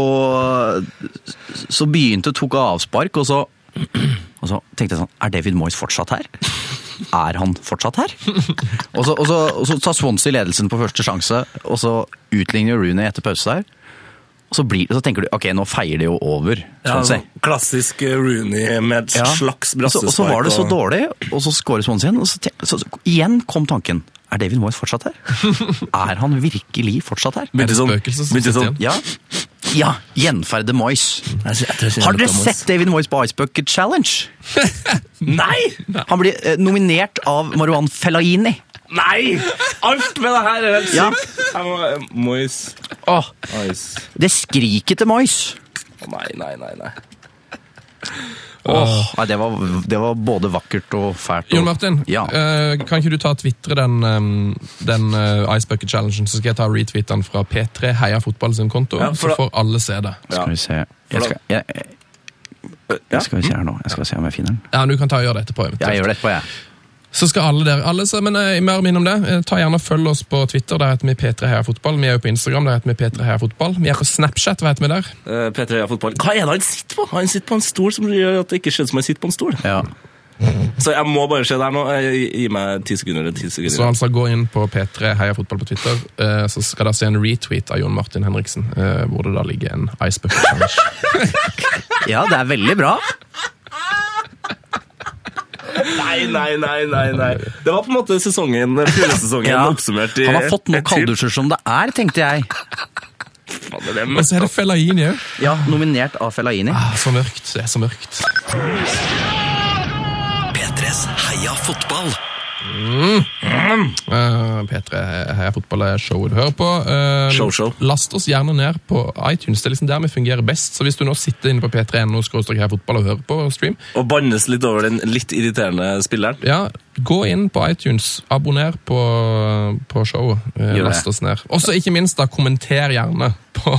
så begynte, tok avspark, og så, og så tenkte jeg sånn Er David Moyes fortsatt her? Er han fortsatt her? Og så, og så, og så tar Swansea ledelsen på første sjanse, og så utligner Rooney etter pause der. Og så, blir, så tenker du ok, nå feier det jo over. Swansea.
klassisk eh, Rooney med et
Ja.
slags
Og så-
brassespark.
Og så var det så dårlig, og så skårer Swansea igjen. Og så, te- så, så igjen kom tanken. Er David *laughs* Moyes fortsatt her? er han virkelig fortsatt her?
Begynte
Er det
sånn,
spøkelset som
begynte
sitter
sånn
igjen?
Ja. Ja, gjenferde Moyes. Har dere sett David Moyes på Ice Bucket Challenge?
Nei!
Han blir eh, nominert av Marwan Fellaini.
Nei! Alt med det her er helt
Ja.
sykt. Jeg må, eh, Mois.
Åh,
Ice.
det skriket til Moyes.
Å, Nei, nei, nei. nei.
Åh, nei, det, var, det var både vakkert og fælt. og-
Jon Martin,
Ja.
eh, kan ikke du ta og tvitre den, um, den eh, Ice Bucket Challengen, så skal jeg ta og retweete den fra P3 Heia Fotball sin konto,
Ja, for
så
da-
får alle se det.
Skal vi se
For
jeg
da-
skal, jeg, jeg,
Ja.
skal vi se her nå. Jeg skal se om jeg finner den.
Ja, du kan ta og gjøre det etterpå. eventuelt.
Jeg gjør det etterpå, jeg.
Så skal alle dere, alle, som- men eh, mer minne om det, eh, ta gjerne og følg oss på Twitter, der heter vi P3 Heia Fotball. Vi er jo på Instagram, der heter vi P3 Heia Fotball. Vi er på Snapchat, hva heter vi der?
Eh, P3 ja, fotball. Hva er det han sitter på? Han sitter på en stol som gjør at det ikke skjønner som han sitter på en stol.
Ja.
Så jeg må bare se der nå. Eh, Gi gi meg ti sekunder. eller 10
Så
sekunder.
altså gå inn på P3 Heia Fotball på Twitter, eh, så skal dere se en retweet av Jon Martin Henriksen, eh, hvor det da ligger en Ice Bucket Challenge.
ja, det er veldig bra.
Nei, nei, nei, nei, nei. Det var på en måte sesongen, fjorårssesongen
Ja.
oppsummert i
Han har fått
et
nok
til.
kalddusjer som det er, tenkte jeg.
Faen, det er
Og så er det Fellaini òg.
Ja, Nominert av Fellaini.
Ah, så mørkt. Det er så mørkt.
P3s Heia fotball.
Mm. Eh, P3 Heia Fotball er showet du hører på. Eh,
Show, show.
Last oss gjerne ned på iTunes. Det er liksom der vi fungerer best. Så hvis du nå sitter inne på P3.no Heia Fotball og hører på stream,
Og bannes litt over den litt irriterende spilleren.
ja, gå inn på iTunes, abonner på, på showet. Eh,
Gjør det.
last oss ned. Også ikke minst, da, kommenter gjerne på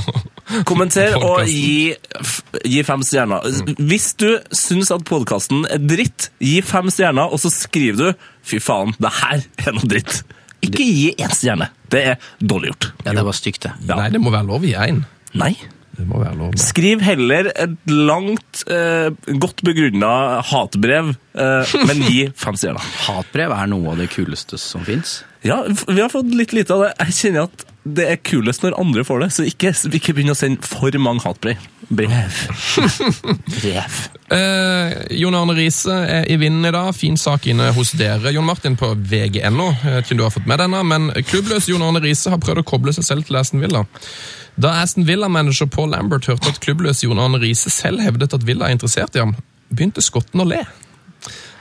Kommenter
Podcasten.
og gi, f- gi fem stjerner. Hvis du syns at podkasten er dritt, gi fem stjerner, og så skriver du 'fy faen, det her er noe dritt'. Ikke gi én stjerne. Det er dårlig gjort.
Ja, det var stygt, det.
Ja.
Nei, det må være lov i én.
Nei.
Det må være lov.
Skriv heller et langt, eh, godt begrunna hatbrev, eh, men *laughs* gi fem stjerner.
Hatbrev er noe av det kuleste som fins.
Ja, f- vi har fått litt lite av det. Jeg kjenner at det er kulest når andre får det, så ikke, ikke begynn å sende for mange hatbrev. Brev. Brev.
Eh, Jon Arne Riise er i vinden i dag. Fin sak inne hos dere, Jon Martin, på vg.no. Jeg vet ikke om du har fått med denne, men klubbløs Jon Arne Riise har prøvd å koble seg selv til Aston Villa. Da Aston Villa-manager Paul Lambert hørte at klubbløs Jon Arne Riise selv hevdet at Villa er interessert i ham, begynte skotten å le.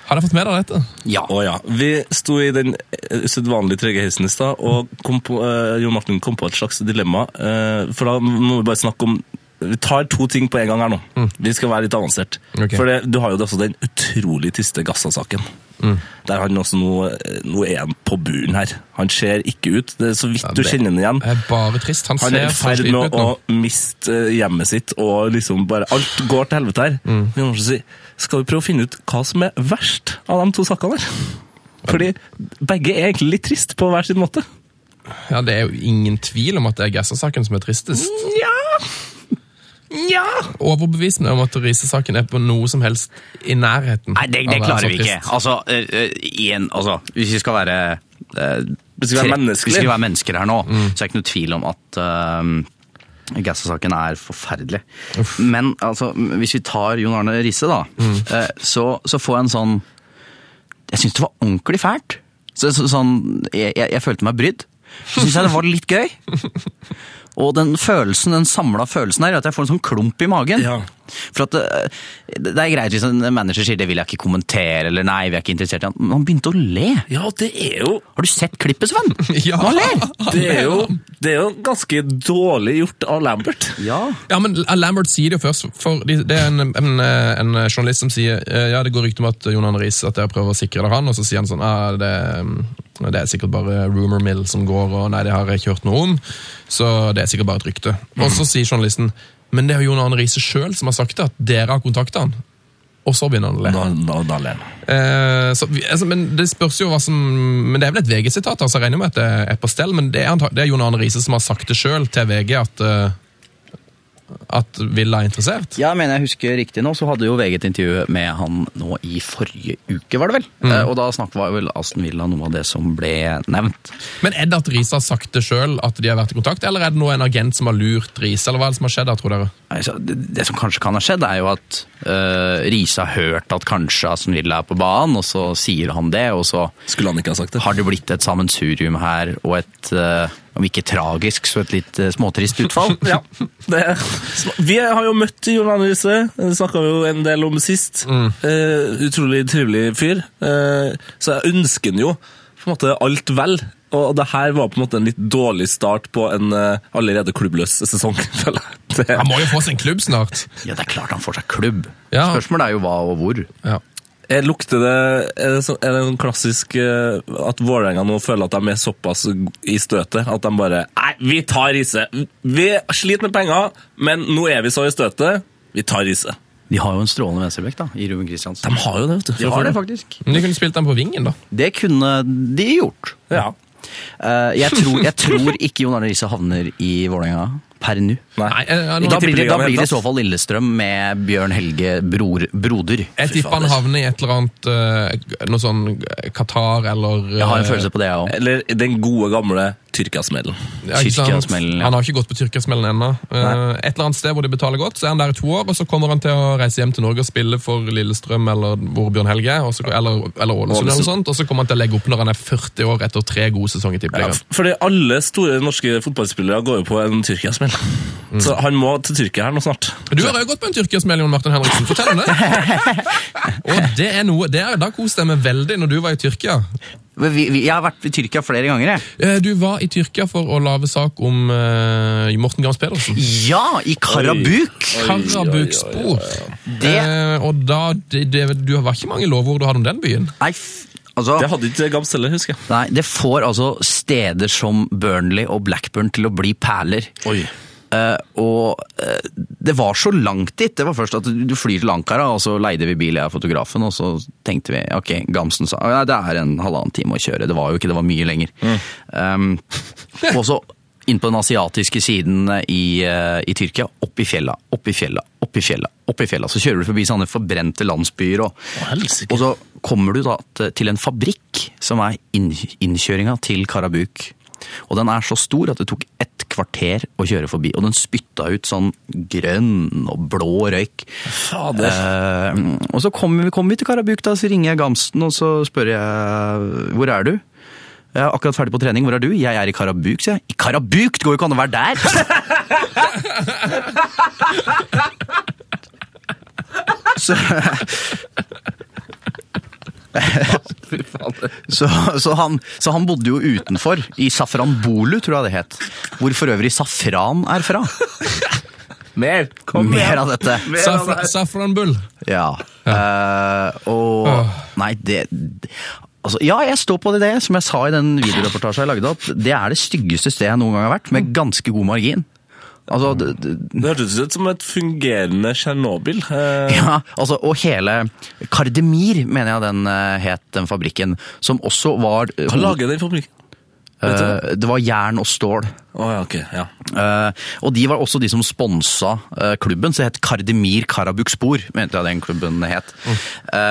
Har dere fått med dere dette?
Ja.
Å ja. Vi sto i den eh, usedvanlig trege heisen i stad, og kom på, eh, Jon Martin kom på et slags dilemma. eh, for da må vi bare snakke om Vi tar to ting på en gang her nå. Vi skal være litt avansert.
Mm. Ok.
For det, du har jo også den utrolig triste Gassa-saken.
Mm.
Der han også nå, eh, nå er han på buren her. Han ser ikke ut. Det er så vidt du
det-
kjenner ham igjen.
Det er bare trist. Han,
Han er
ser
i
så
ferd
sliten
med
ut nå.
å miste eh, hjemmet sitt, og liksom bare alt går til helvete her. Men jeg må også si, skal vi prøve å finne ut hva som er verst av de to sakene der? Fordi begge er egentlig litt trist på hver sin måte.
Ja, Det er jo ingen tvil om at det er Gasser-saken som er tristest.
Nja Nja
Overbevisende om at Riise-saken er på noe som helst i nærheten.
Nei, det, det
av å være
klarer
så
sånn
vi ikke.
trist.
Altså, eh, eh, igjen, altså Hvis vi skal være eh,
Vi skal være
tre-
menneskelige. Mm.
vi skal være mennesker her nå, så er det ikke noe tvil om at uh, Gassa-saken er forferdelig. Men altså, hvis vi tar Jon Arne Riise, da,
Mm.
eh, så, så får jeg en sånn Jeg syns det var ordentlig fælt. Så, så, sånn, jeg, jeg, jeg følte meg brydd. Så syns jeg det var litt gøy. Og den følelsen, den samla følelsen her, er at jeg får en sånn klump i magen.
Ja.
For at eh, Det det er greit hvis en manager sier det vil jeg ikke kommentere, eller nei, vi er ikke interessert i han. Men han begynte å le!
Ja, det er jo
Har du sett klippet, Sven?
Ja.
Han ler!
det er jo, det er jo ganske dårlig gjort av Lambert.
Ja.
*laughs* Ja, men Lambert sier det jo først, for de- det er en, en, eh, en journalist som sier eh, ja, det går rykte om at Jon Arne Riise at dere prøver å sikre dere han, og så sier han sånn ah, det, mm, det er sikkert bare rumor mill som går, og nei, det har jeg ikke hørt noe om, så det er sikkert bare et rykte. Og så sier journalisten men det er jo Jon Arne Riise sjøl som har sagt det, at dere har kontakta han. Og så begynner han å le.
Da, da, da ler han.
Eh, så, vi- altså, men det spørs jo hva som Men det er vel et VG-sitat, altså, jeg regner med at det er på stell, men det er, anta- det er Jon Arne Riise som har sagt det sjøl til VG at eh, at Villa er interessert.
Ja, men jeg husker riktig nå, så hadde jo VG et intervju med han nå i forrige uke, var det vel? Eh, Og da snakket var vel Aston Villa noe av det som ble nevnt.
Men er det at Riise har sagt det sjøl, at de har vært i kontakt, eller er det nå en agent som har lurt Riise, eller hva er det som har skjedd der, tror dere?
Eh, Nei, så det, det som kanskje kan ha skjedd, er jo at eh, Riise har hørt at kanskje Aston Villa er på banen, og så sier han det, og så
Skulle han ikke ha sagt det?
har det blitt et sammensurium her og et eh, om ikke tragisk, så et litt eh, småtrist utfall.
*laughs* Ja. Det, vi har jo møtt Jon Arne Riise. Det snakka vi jo en del om sist. Eh, utrolig trivelig fyr. Eh, så jeg ønsker han jo på en måte alt vel. Og det her var på en måte en litt dårlig start på en eh, allerede klubbløs sesong, *laughs* føler jeg. Det,
Han må jo få seg en klubb snart.
Ja, det er klart han får seg klubb.
Ja.
Spørsmålet er jo hva og hvor.
Ja.
Eh, lukter det Er det, sånn, er det en klassisk eh, at Vålerenga nå føler at de er såpass i støtet at de bare Nei, vi tar Riise! Vi sliter med penger, men nå er vi så i støtet. Vi tar Riise.
De har jo en strålende venstrebekk da, i Ruben Kristiansen.
De har jo det, vet du.
De har det, faktisk.
Men de kunne spilt den på vingen, da.
Det kunne de gjort.
Ja.
Eh, jeg, tror, jeg tror ikke Jon Arne Riise havner i Vålerenga per nå.
Nei, eh,
Da blir,
nå-
det, da
Tippeligaen i
blir det
hele
i så fall Lillestrøm med Bjørn Helge bror, Broder.
Jeg tipper han havner i et eller annet eh, Noe sånn Qatar eller
Jeg har en
eh,
følelse på det, jeg òg.
Eller den gode, gamle Tyrkiasmedlen.
ja, ikke sant?
Tyrkiasmellen, ja.
Han har ikke gått på Tyrkiasmellen ennå. Eh, Et eller annet sted hvor de betaler godt, så er han der i to år, og så kommer han til å reise hjem til Norge og spille for Lillestrøm eller hvor Bjørn Helge er, og så, eller, eller Ålesund eller noe sånt, og så kommer han til å legge opp når han er 40 år etter tre gode sesonger i Tippeligaen.
Fordi alle store norske fotballspillere går jo på en Tyrkiasmell.
Mm.
Så han må til Tyrkia her nå snart.
Du har jo gått på en Tyrkiasmell, Jon Martin Henriksen. Fortell
*laughs*
om det. og det er noe, det er, Da koste jeg meg veldig når du var i Tyrkia.
Vi, vi, jeg har vært i Tyrkia flere ganger, jeg.
Eh, Du var i Tyrkia for å lage sak om eh, Morten Gams Pedersen.
Ja, i Karabuk!
Karabukspor.
Det-
Eh, og da, det, det, du var ikke mange lovord du hadde om den byen.
Nei, f- altså
Det hadde ikke Gams heller, husker jeg.
Nei, det får altså steder som Burnley og Blackburn til å bli perler. Eh, og eh, det var så langt dit. Det var først at du flyr til Ankara, og så leide vi bil, jeg og fotografen, og så tenkte vi ok, Gamsen sa ja, det er en halvannen time å kjøre. Det var jo ikke det, var mye lenger. Um, og så inn på den asiatiske siden i, eh, i Tyrkia. Opp i fjella, opp i fjella, opp i fjella. opp i fjella. Så kjører du forbi sånne forbrente landsbyer. og...
helsike.
Og så kommer du da t- til en fabrikk som er inn, innkjøringa til Karabuk. Og den er så stor at det tok ett kvarter å kjøre forbi. Og den spytta ut sånn grønn og blå røyk.
Fader.
Eh, og så kommer vi, kom vi til Karabuk, da, så ringer jeg Gamsten og så spør jeg hvor er du? Jeg er akkurat ferdig på trening, hvor er du? Jeg er i Karabuk, sier jeg. I Karabuk? Det går jo ikke an å være der! så så, så, han, så han bodde jo utenfor, i Safranbolu, tror jeg det het. Hvor for øvrig safran er fra.
Mer! Kom
Mer
igjen!
av dette.
Safra, Safranbull.
Ja. Eh, og
Åh.
Nei, det Altså, ja, jeg står på det, det, som jeg sa i den videoreportasjen jeg lagde, at det er det styggeste stedet jeg noen gang har vært, med ganske god margin. Altså, det, det,
Det hørtes ut som et fungerende Tsjernobyl. Eh,
ja, altså, og hele Kardemir, mener jeg den eh, het, den fabrikken, som også var eh,
Hva lager den fabrikken?
eh, Det var jern og stål.
Å ja, ok. Ja.
Eh, og de var også de som sponsa eh, klubben, så det het Kardemir Karabukspor, mente jeg den klubben het.
Mm. Det var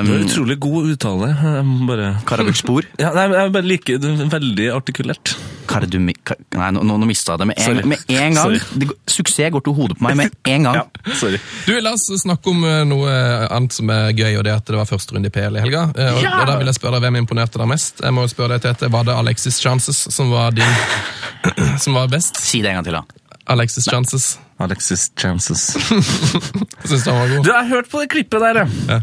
Uh,
Utrolig god uttale. Jeg må Bare
Karabukspor.
ja, nei, men jeg bare liker det veldig artikulert.
Kardumi... Ka, nei, nå, nå mista jeg det med en,
Sorry.
med en gang.
Sorry.
Det, går- suksess går til hodet på meg med en gang.
Ja, sorry.
Du, La oss snakke om eh, noe annet som er gøy, og det er at det var første runde i PL i helga. Eh, Og, og da vil jeg spørre deg Hvem imponerte deg mest? Jeg må jo spørre deg, Tete, Var det Alexis Chances som var din *clears throat* Som var best?
Si det en gang til, da.
Alexis Chances. *laughs*
Alexis Chances.
Syns du han var
Du,
god?
jeg har hørt på det klippet der, ja.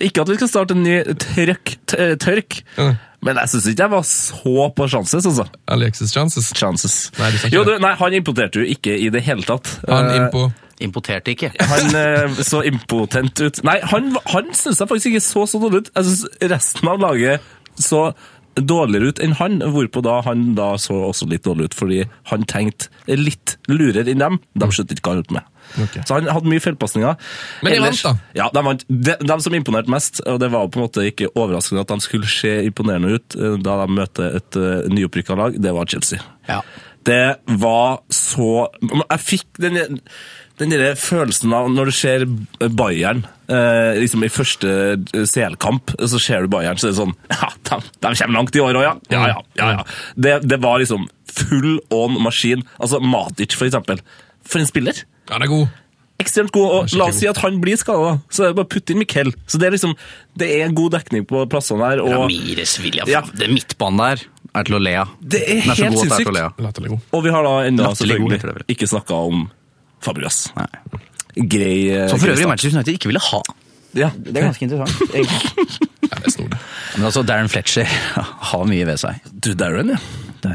Ikke at vi skal starte en ny trøkk, t- tørk,
Ja.
men jeg syns ikke jeg var så på chances, altså.
Alexis Chances.
Chances.
Nei, du sa ikke
jo, du,
det.
nei, han imploderte jo ikke i det hele tatt.
Han
Eh,
innpå
Importerte ikke.
han eh, så impotent ut. Nei, han, han syns jeg faktisk ikke så så dårlig ut. Jeg syns resten av laget så dårligere ut enn han, hvorpå da han da så også litt dårlig ut, fordi han tenkte litt lurere enn dem. De skjønte ikke hva han holdt på med.
Ok.
Så han hadde mye feilpasninger.
Men de
Ellers-
vant,
Ja, de vant. De, de som imponerte mest, og det var på en måte ikke overraskende at de skulle se imponerende ut eh, da de møter et uh, nyopprykka lag, det var Chelsea.
Ja.
Det var så Men Jeg fikk den, den der følelsen av når du ser Bayern eh, liksom i første CL-kamp, så ser du Bayern, så er det sånn Ja, de, de kommer langt i år òg, ja. Ja, ja, ja, ja. Det, det var liksom full on maskin. Altså Matic, for eksempel. For en spiller!
Han er god.
ekstremt god, og la oss si at han blir skada, så er det bare å putte inn Miquel. Så det er liksom Det er god dekning på plassene her, og,
Ramires William.
Ja.
Den midtbanen der er til å le av.
Det er
Den er så
helt
god at det er til å
sinnssykt.
le av.
Latterlig god.
og vi har da ennå
Latterlig god, heter
selvfølgelig
det
ikke snakka om Fabregas.
Nei.
Grei eh,
Som for
grei
øvrig
start.
Manchester United ikke ville ha.
Ja.
interessant. egentlig.
Ja, det er snodig.
Men altså, Darren Fletcher *laughs* har mye ved seg.
Du Darren, ja.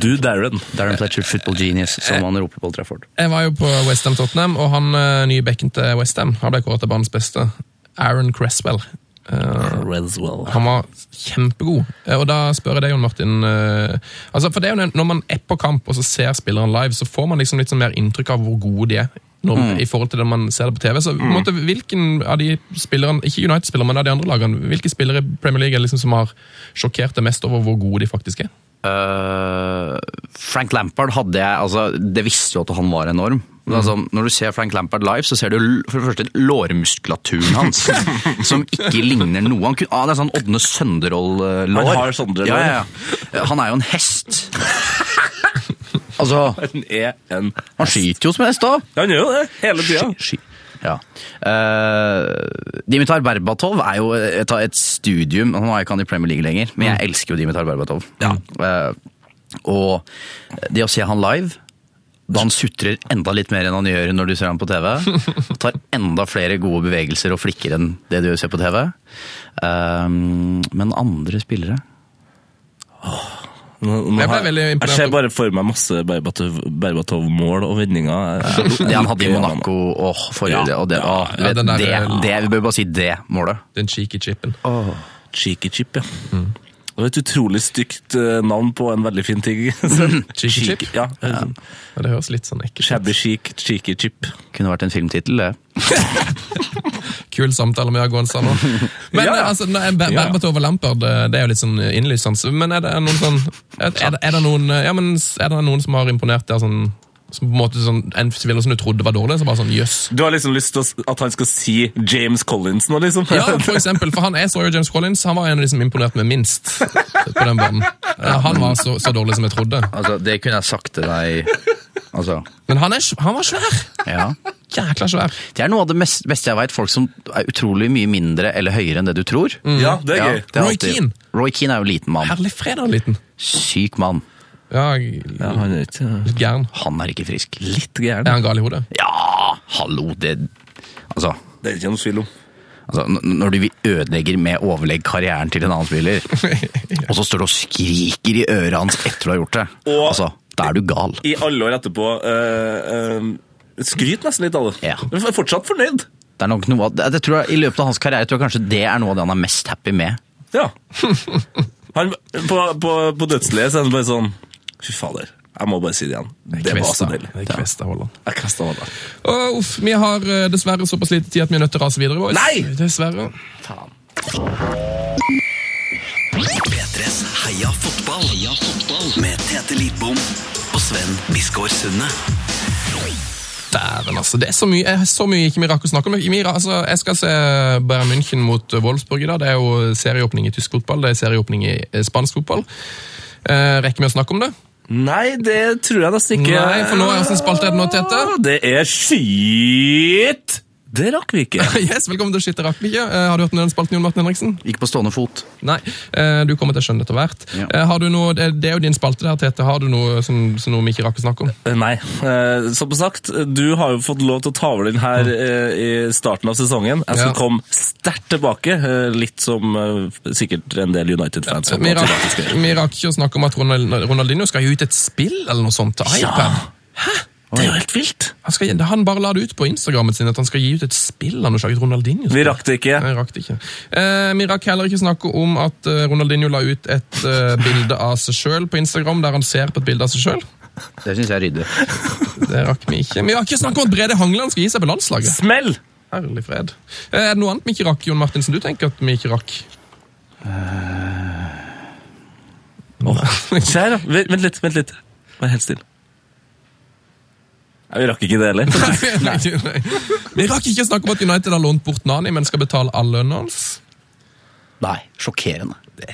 Du Darren.
Darren Fletcher, football genius, som han roper på Old Trafford.
Jeg var jo på Westham Tottenham, og han eh, nye bekken til Westham ble kåret til banens beste. Aaron Cresswell. Eh,
Reswell.
han var kjempegod. Eh, og da spør jeg deg, Jon Martin eh, altså, For det er jo når man er på kamp og så ser spilleren live, så får man liksom litt sånn mer inntrykk av hvor gode de er. Når, I forhold til det man ser det på TV. Så på en måte, hvilken av de spillerne, ikke United-spillere, men av de andre lagene, hvilke spillere i Premier League er liksom som har sjokkert deg mest over hvor gode de faktisk er?
Eh, Frank Lampard hadde jeg altså, Det visste jo at han var enorm. Men altså, når du ser Frank Lampard live, så ser du l- for det første lårmuskulaturen *laughs* hans. som ikke ligner noe. Han kunne, ah, det er sånn Ådne Sønderål-lår.
Han har Sondre-lår.
Ja, ja, ja. Han er jo en hest. *laughs* altså
Han er en
Han skyter jo som hest, da.
Han gjør jo det, hele tida.
Sky. Ja. Eh, Dimitar Berbatov er jo et, et studium Nå er ikke han i Premier League lenger, men jeg elsker jo Dimitar Berbatov. Eh, og det å se han live da han sutrer enda litt mer enn han gjør når du ser han på TV. og Tar enda flere gode bevegelser og flikker enn det du ser på TV. Eh, men andre spillere
Jeg ble veldig imponert.
Jeg ser bare for meg masse Berbatov- Berbatov-mål og vendinger.
Det
*laughs*
han hadde i Monaco og forrige
Ja.
og det, å,
Ja,
du
den der-
vet, det, det, Vi bør bare si det målet.
Den cheeky chipen.
Cheeky Chip, ja. Det var et utrolig stygt eh, navn på en veldig fin ting. *laughs*
Cheeky Chip?
Ja.
Ja, Det høres litt sånn ekkelt ut.
Shabby chic, cheeky chip.
Kunne vært en filmtittel, det.
Kul samtale med Agonsa
*laughs*
nå. Men
Ja, ja.
altså, nei, Ber-
Ja, ja.
Berbatov og Lampard eh, det er jo litt sånn innlysende. Men er det noen sånn er, er, det, er, det noen, eh, ja, men, s- er det noen som har imponert deg sånn som på en måte sånn, En spiller som du trodde var dårlig? Så bare sånn, jøss.
*laughs* Du har liksom lyst til å s- at han skal si James Collins nå, liksom?
Ja, for eksempel, for han er så jo James Collins. Han var en av de som imponerte meg minst på den banen. Ja, han var så, så dårlig som jeg trodde.
Altså, det kunne jeg sagt til deg Altså,
Men han, er, sv- han var svær!
ja.
Jækla svær.
Det er noe av det mest, beste jeg veit. Folk som er utrolig mye mindre eller høyere enn det du tror.
*laughs* Ja, Mm. det er
Ja,
gøy.
det er
Roy
alltid-
Keane.
Roy Keane er jo liten mann.
Herlig fred, han liten.
Syk mann.
Ja, litt
Ja, han er ikke
gæren.
Han er ikke frisk.
litt gæren.
Er han gal i hodet?
Ja, hallo, det Altså,
Det er ikke noe tvil om.
altså n- når du vil ødelegger med overlegg karrieren til en annen
*laughs*
spiller, og så står du og skriker i øret hans etter du har gjort det,
Og-
altså, da er du gal.
I alle år etterpå eh, eh, Skryt nesten litt av det.
Ja.
Men er fortsatt fornøyd.
Det er nok noe av, jeg tror jeg, I løpet av hans karriere tror jeg kanskje det er noe av det han er mest happy med.
*laughs*
Ja. Han, på på, på dødsleiet så er han bare sånn Fy fader, jeg må bare si det igjen. Det var
Kvesta.
så deilig.
Det er Kvesta, Holland.
Jeg kastet meg der.
Åh, uff, vi har eh, dessverre såpass lite tid at vi er nødt til å rase videre. Boys.
Nei!
Dessverre.
P3s Heia fotball. Heia fotball. Med Tete Lidbom og Sven Biskår Sunde.
Dæven, altså. Det er så mye, eh, så mye ikke vi rakk å snakke om. Vi, ra- altså, jeg skal se Bayern München mot eh, Wolfsburg i dag. Det er jo serieåpning i tysk fotball, det er serieåpning i eh, spansk fotball. Eh, rekker vi å snakke om det?
Nei, det tror jeg nesten ikke.
Nei, for nå er Åssen spalte er det nå, Tete? *laughs*
Det er skitt! Det rakk vi
*laughs*
ikke.
Yes, Velkommen til Shit, det rakk vi ikke. Eh, har du hørt om den spalten, Jon Martin Henriksen?
Ikke på stående fot.
Nei. eh, du kommer til å skjønne det etter hvert.
Ja.
Eh, har du noe, det det er jo din spalte der, Tete. Har du noe som, som noe vi ikke rakk å snakke om?
Nei. eh, Som sagt, du har jo fått lov til å ta over den her eh, i starten av sesongen. Jeg
Mm. Ja.
skal komme sterkt tilbake, eh, litt som eh, sikkert en del
Vi
United-fans. håper at
rakk,
automatisk gjør.
vi rakk ikke å snakke om at Ronald- Ronaldinho skal gi ut et spill eller noe sånt til
Ja.
iPad.
Det er jo helt vilt!
Han, skal, han bare la det ut på Instagrammen sin at han skal gi ut et spill av noe slags Ronaldinho.
Vi rakk det ikke.
Nei, rakk det ikke. Eh, vi rakk heller ikke snakke om at eh, Ronaldinho la ut et eh, bilde av seg sjøl på Instagram, der han ser på et bilde av seg sjøl.
Det syns jeg er ryddig.
Det rakk vi ikke. Vi har ikke snakket om at Brede Hangeland skal gi seg på landslaget.
Smell!
Herlig fred. Eh, er det noe annet vi ikke rakk, Jon Martin, som du tenker at vi ikke rakk?
Eh, Kjære, vent vent litt, vent litt. Vær helt stille. Nei, Vi rakk ikke det heller.
Nei, nei. Vi rakk ikke å snakke om at United har lånt bort Nani, men skal betale all lønnen hans.
Nei, sjokkerende.
Det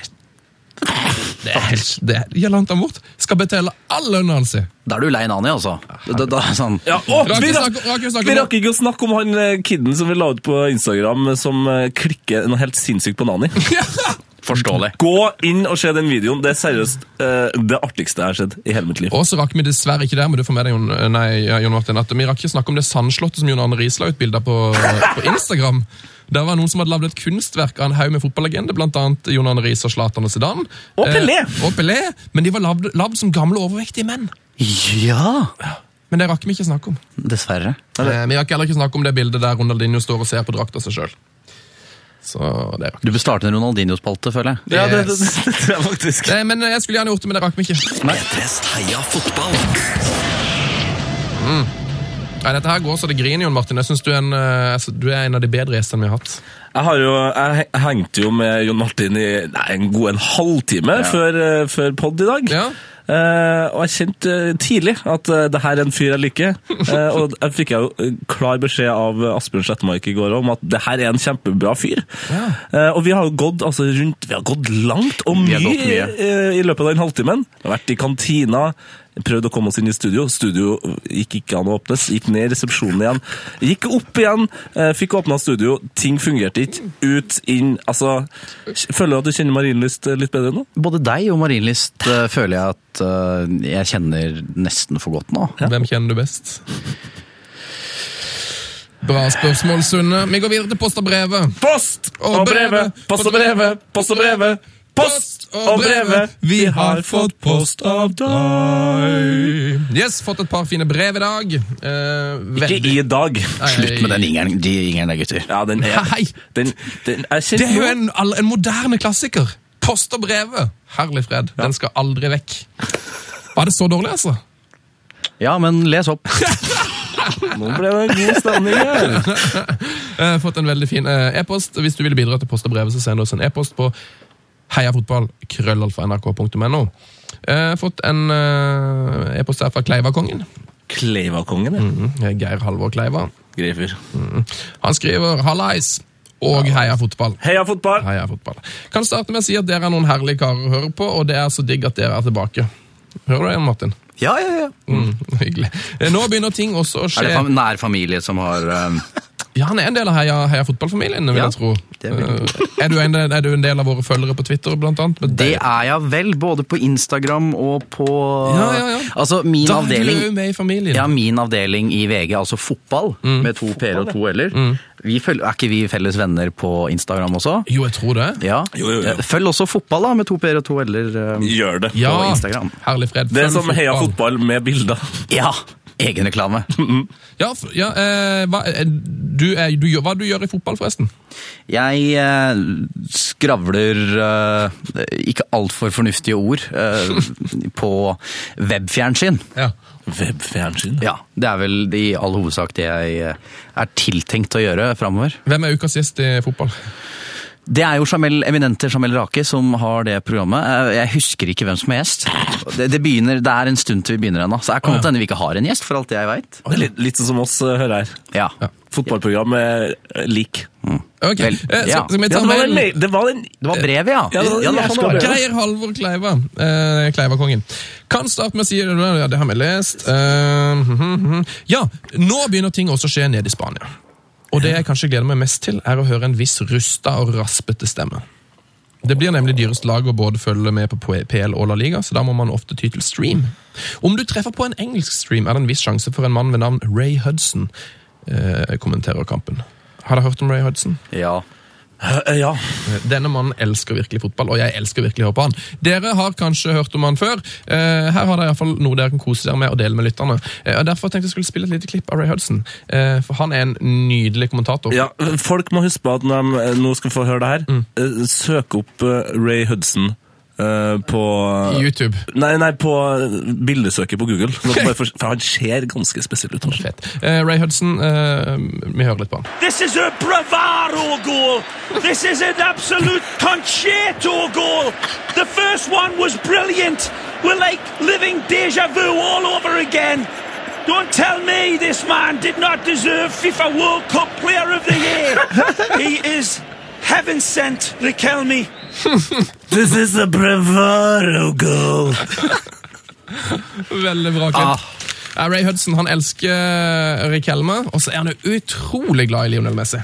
er, helt- det er, gjelder han tar bort, skal betale all lønnen
*laughs*
hans.
Da er du lei Nani, altså. Da, da, er sånn.
Ja, å,
Rakk
vi,
ikke
rakk,
snakke- rakk ikke snakke om
vi
det.
rakk ikke å snakke om han eh, kidden som vi la ut på Instagram, som eh, klikker noe helt sinnssykt på Nani.
Forståelig.
Gå inn og se den videoen. Det er seriøst eh, det artigste jeg har sett i hele mitt liv.
Og så rakk vi dessverre ikke det, men du får med deg, Jon, nei, ja, Jon Martin, at vi rakk ikke snakke om det sandslottet som Jon Arne Riis la ut bilder på, på Instagram. Der var noen som hadde lagd et kunstverk av en haug med fotballegender, blant annet Jon Arne Riis og Zlatan og Zidane.
Og Pelé.
Eh, og Pelé, men de var lagd lagd som gamle overvektige menn.
Ja,
Men det rakk vi ikke snakke om.
dessverre.
Eh, vi rakk heller ikke snakke om det bildet der Ronaldinho står og ser på drakta si sjøl. Så det rakk vi.
Du bør starte en Ronaldinho-spalte, føler jeg.
Ja, det, det,
Yes.
det tror jeg faktisk.
Eh, Men jeg skulle gjerne gjort det, men det rakk vi ikke.
P3s Heia fotball.
Mm. Nei, dette her går så det griner, Jon Martin. Jeg synes du, er en, eh, altså, du er en av de bedre gjestene vi har hatt.
Jeg, har jo, jeg he- hengte jo med Jon Martin i nei, en god en halvtime før, eh, før pod i dag.
Ja.
Eh, og jeg kjente eh, tidlig at uh, det her er en fyr jeg *laughs* liker. Eh, og jeg fikk jeg jo eh, klar beskjed av eh, Asbjørn Slettemark i går om at det her er en kjempebra fyr. Eh, og vi har jo gått altså, rundt Vi har gått langt og
Vi
mye,
har gått mye.
eh, i løpet av den halvtimen. Vi har vært i kantina, prøvd å komme oss inn i studio. Studio gikk ikke an å åpnes. Gikk ned i resepsjonen igjen. Gikk opp igjen, eh, fikk åpna studio. Ting fungerte ikke. Ut, inn. Altså Føler du at du kjenner Marienlyst eh, litt bedre nå?
Både deg og Marienlyst eh, føler jeg at eh, jeg kjenner nesten for godt nå.
Hvem kjenner du best? Bra spørsmål, Sunne. Vi går videre til post og brevet.
Post og brevet, post og brevet, post og brevet. Post og brevet, vi har fått post av deg.
Yes, fått et par fine brev i dag. Eh,
Ikke
veldig-
i dag.
Slutt med den ingeren, de ingerne, gutter.
Ja, den er
Hei!
Den, den er kjent
Det er jo
nå.
en, all- en moderne klassiker. Post og brevet. Herlig fred. Den skal aldri vekk. Var det så dårlig, altså?
Ja, men les opp.
Nå ble det en god stemning *laughs* her.
Eh, fått en veldig fin eh, e-post. Hvis du vil bidra til post og brevet, så send oss en e-post på heiafotballkrøllalfa.nrk.no. Eh, fått en eh, e-post her fra Kleivakongen.
Kleivakongen,
Mm.
ja.
Eh, Geir Halvor Kleiva.
Grei fyr.
Han skriver 'Hallais' og 'Heia fotball'.
Heia fotball!
Heia fotball. Kan starte med å si at dere er noen herlige karer å høre på, og det er så digg at dere er tilbake. Hører du det, Martin?
Ja, ja, ja.
Mm, *laughs* hyggelig. Eh, Nå begynner ting også å
Er det
skje.
fam nær familie som har eh,
Ja, Han er en del av Heia, heia fotballfamilien, vil
Ja,
jeg tro.
det vil jeg
Eh, Er du, en, er du en del av våre følgere på Twitter, blant annet? Med
Det er jeg vel, både på Instagram og på
Ja, ja, ja.
Altså, min
Da er
avdeling
du med i familien.
ja, min avdeling i VG, altså fotball,
Mm.
med to p-er og to l-er. Vi følger- Er ikke vi felles venner på Instagram også?
Jo, jeg tror det.
Ja. Eh,
Jo, jo, jo.
Følg også fotball, da, med to p-er og to l-er. eh,
Gjør det.
Ja,
På Instagram.
Herlig fred.
Det er
Følg
som heia fotball med bilder.
Ja!
*laughs*
Egenreklame.
Ja, f- ja eh, hva, eh, du er, du, gjør- hva du gjør i fotball, forresten?
Jeg eh, skravler eh, ikke altfor fornuftige ord eh, på webfjernsyn.
Ja.
Webfjernsyn.
Ja, Det er vel i all hovedsak det jeg eh, er tiltenkt å gjøre framover.
Hvem er ukas gjest i fotball?
Det er jo Jamel eminente Jamel Rake som har det programmet. Eh, Jeg husker ikke hvem som er gjest. Det, det, begynner, det er en stund til vi begynner ennå, så jeg kan godt hende vi ikke har en gjest, for alt jeg veit.
Det er litt, litt sånn som oss eh, hører her.
Ja.
Fotballprogram er eh, lik.
Ok,
Vel,
eh, så,
ja.
så vi
Ja,
tar
det var den,
mailen.
det var den
Det var brevet, ja.
Ja, det var-
det var
jeg
sånn
skal
det var.
brevet.
Geir Halvor Kleiva. Eh, Kleiva-kongen. Kan starte med å si Ja, det har vi lest. Eh, hm, hm, hm. ja, nå begynner ting også å skje nede i Spania. Og det jeg kanskje gleder meg mest til, er å høre en viss rusta og raspete stemme. Det blir nemlig dyrest lag å både følge med på PL og La Liga, så da må man ofte ty til stream. Om du treffer på en engelsk stream, er det en viss sjanse for en mann ved navn Ray Hudson eh, kommenterer kampen. Har dere hørt om Ray Hudson?
Ja.
Eh, Ja.
Denne mannen elsker virkelig fotball, og jeg elsker virkelig å høre på han. Dere har kanskje hørt om han før. Eh, her har dere i hvert fall noe dere kan kose dere med og dele med lytterne. Eh, og derfor tenkte jeg skulle spille et lite klipp av Ray Hudson, eh, for han er en nydelig kommentator.
Ja, folk må huske på at når de eh, nå skal få høre det her, eh, søk opp eh, Ray Hudson eh, på eh,
YouTube.
Nei, nei, på bildesøket på Google. Nå bare For, for han ser ganske spesiell ut. han.
Fett. Eh, Ray Hudson, eh, vi hører litt på han.
This is a bravado goal. This is an absolute concerto goal. The first one was brilliant. We're like living deja vu all over again. Don't tell me this man did not deserve FIFA World Cup Player of the Year. he is heaven sent, Riquelme.
This is a bravado goal!
Veldig bra
Ah.
klipp. Eh, Ray Hudson han elsker eh, Rick Helme, og så er han jo utrolig glad i Lionel Messi.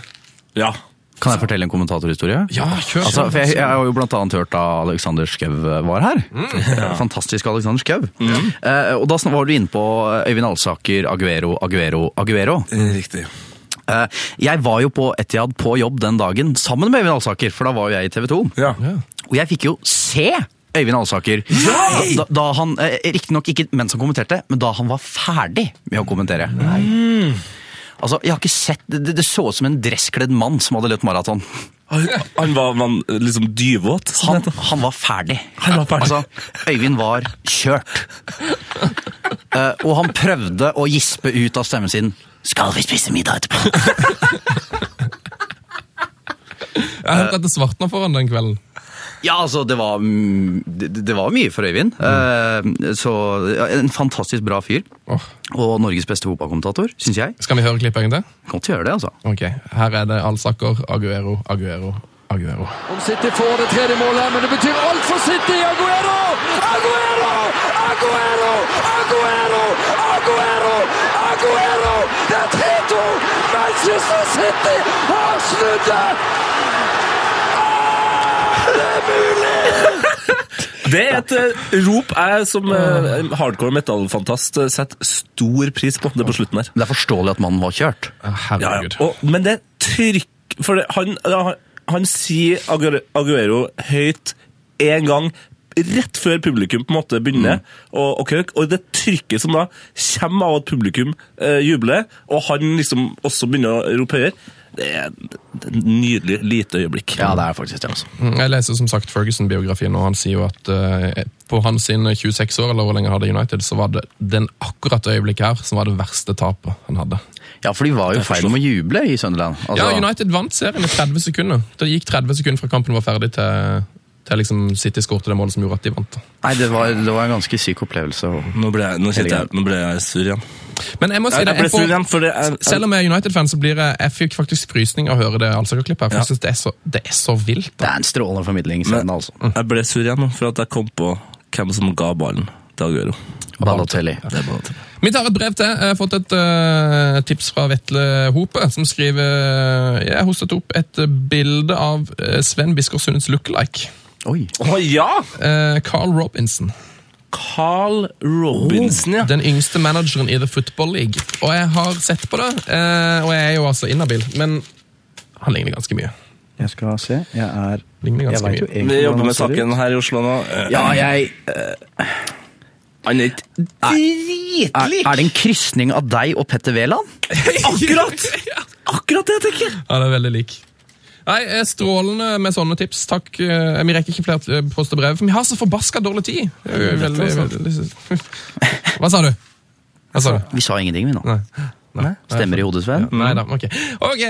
Ja.
Kan jeg fortelle en kommentatorhistorie?
Ja, kjør.
Altså, for jeg, jeg har jo blant annet hørt da Alexander Skau var her. Fantastisk Alexander Skau. Eh, og da sn- var du inne på Øyvind Alsaker, Aguero, Aguero, Aguero.
Riktig.
Eh, jeg var jo på Etiad på jobb den dagen sammen med Øyvind Alsaker, for da var jo jeg i TV 2.
Ja.
Og jeg fikk jo se Øyvind Alsaker. Da, da han, eh, Riktignok ikke mens han kommenterte, men da han var ferdig med å kommentere.
Mm.
Altså, jeg har ikke sett, Det, det så ut som en dresskledd mann som hadde løpt maraton.
Han, han var man, liksom dyvåt. som
Han,
det heter.
han var ferdig.
Han var ferdig.
Altså, Øyvind var kjørt. Eh, og han prøvde å gispe ut av stemmen sin. Skal vi spise middag etterpå?
Jeg har hørt at det svartna foran den kvelden.
Ja, altså, det var, mm, det, det var mye for Øyvind.
Mm.
Eh, så ja, En fantastisk bra fyr.
Åh.
Og Norges beste fotballkommentator, syns jeg.
Skal vi høre klippet en gang til?
Godt å gjøre det, altså.
Ok, her er det Alsaker, Aguero, Aguero, Aguero.
Om City får det tredje målet, men det betyr alt for City! Aguero! Aguero! Aguero! Aguero! Aguero! Aguero! Det er 3-2! Manchester City har snudd det!
Det er et eh, rop jeg som eh, hardcore metal-fantast eh, setter stor pris på. Det på slutten her.
Men det er forståelig at mannen var kjørt.
Ja,
Ja,
Herregud.
ja. Og, men det trykk For det, han, ja, han- han sier Aguero, Aguero høyt én gang rett før publikum på en måte begynner å å køke, og det trykket som da kommer av at publikum eh, jubler, og han liksom også begynner å rope høyere, det er det er et nydelig lite øyeblikk.
Ja, det er faktisk det, altså.
Mm, Jeg leser som sagt Ferguson-biografien, og han sier jo at eh, på hans sine 26 år, eller hvor lenge han hadde United, så var det den akkurat øyeblikket her som var det verste tapet han hadde.
Ja, for de var jo feil med å juble i Sunderland. Altså,
Ja, United vant serien i 30 sekunder. Det gikk 30 sekunder fra kampen var ferdig til, til liksom City skårte det målet som gjorde at de vant.
Nei, det var, det var en ganske syk opplevelse. og-
Nå ble jeg, nå kjente jeg, nå ble jeg sur igjen.
Men jeg må si
Jeg,
det,
ble
jeg
sur
får,
igjen, for det er,
selv om jeg er United-fan, så blir jeg, jeg fikk faktisk frysning av å høre det Alsaker-klippet. her, for Jeg synes det er så, det er så vilt.
Det er en strålende formidlingsscene, altså.
jeg ble sur igjen nå, for at jeg kom på hvem som ga ballen til Aguero.
Balotelli.
Det er Balotelli.
Vi tar et brev til. Jeg har fått et eh, tips fra Vetle Hope, som skriver Jeg har hostet opp et eh, bilde av eh, Sven Biskår Sundes lookalike.
Oi.
Å ja!
Eh, Carl Robinson.
Carl Robinson, ja.
Den yngste manageren i The Football League. Og jeg har sett på det, eh, og jeg er jo altså inhabil, men han ligner ganske mye.
Jeg skal se. Jeg er
Ligner ganske
vet jo
mye.
egentlig
Vi
hvordan
jobber
han
med
ser ut.
saken her i Oslo nå. Eh,
Ja, jeg
Han er ikke
er,
dritlik!
er det en krysning av deg og Petter Wæland?
Akkurat! Akkurat det jeg tenker!
Ja, det er veldig lik. Nei, eh, Strålende med sånne tips. Takk. Eh, Vi rekker ikke flere eh, post og brev, for vi har så forbaska dårlig tid. Det er jo Veldig, veldig. *laughs* Hva sa du? Hva sa du?
Vi sa ingenting, vi nå.
Nei. Nei.
Stemmer i hodet, Sven?
Nei da, ok. Ok,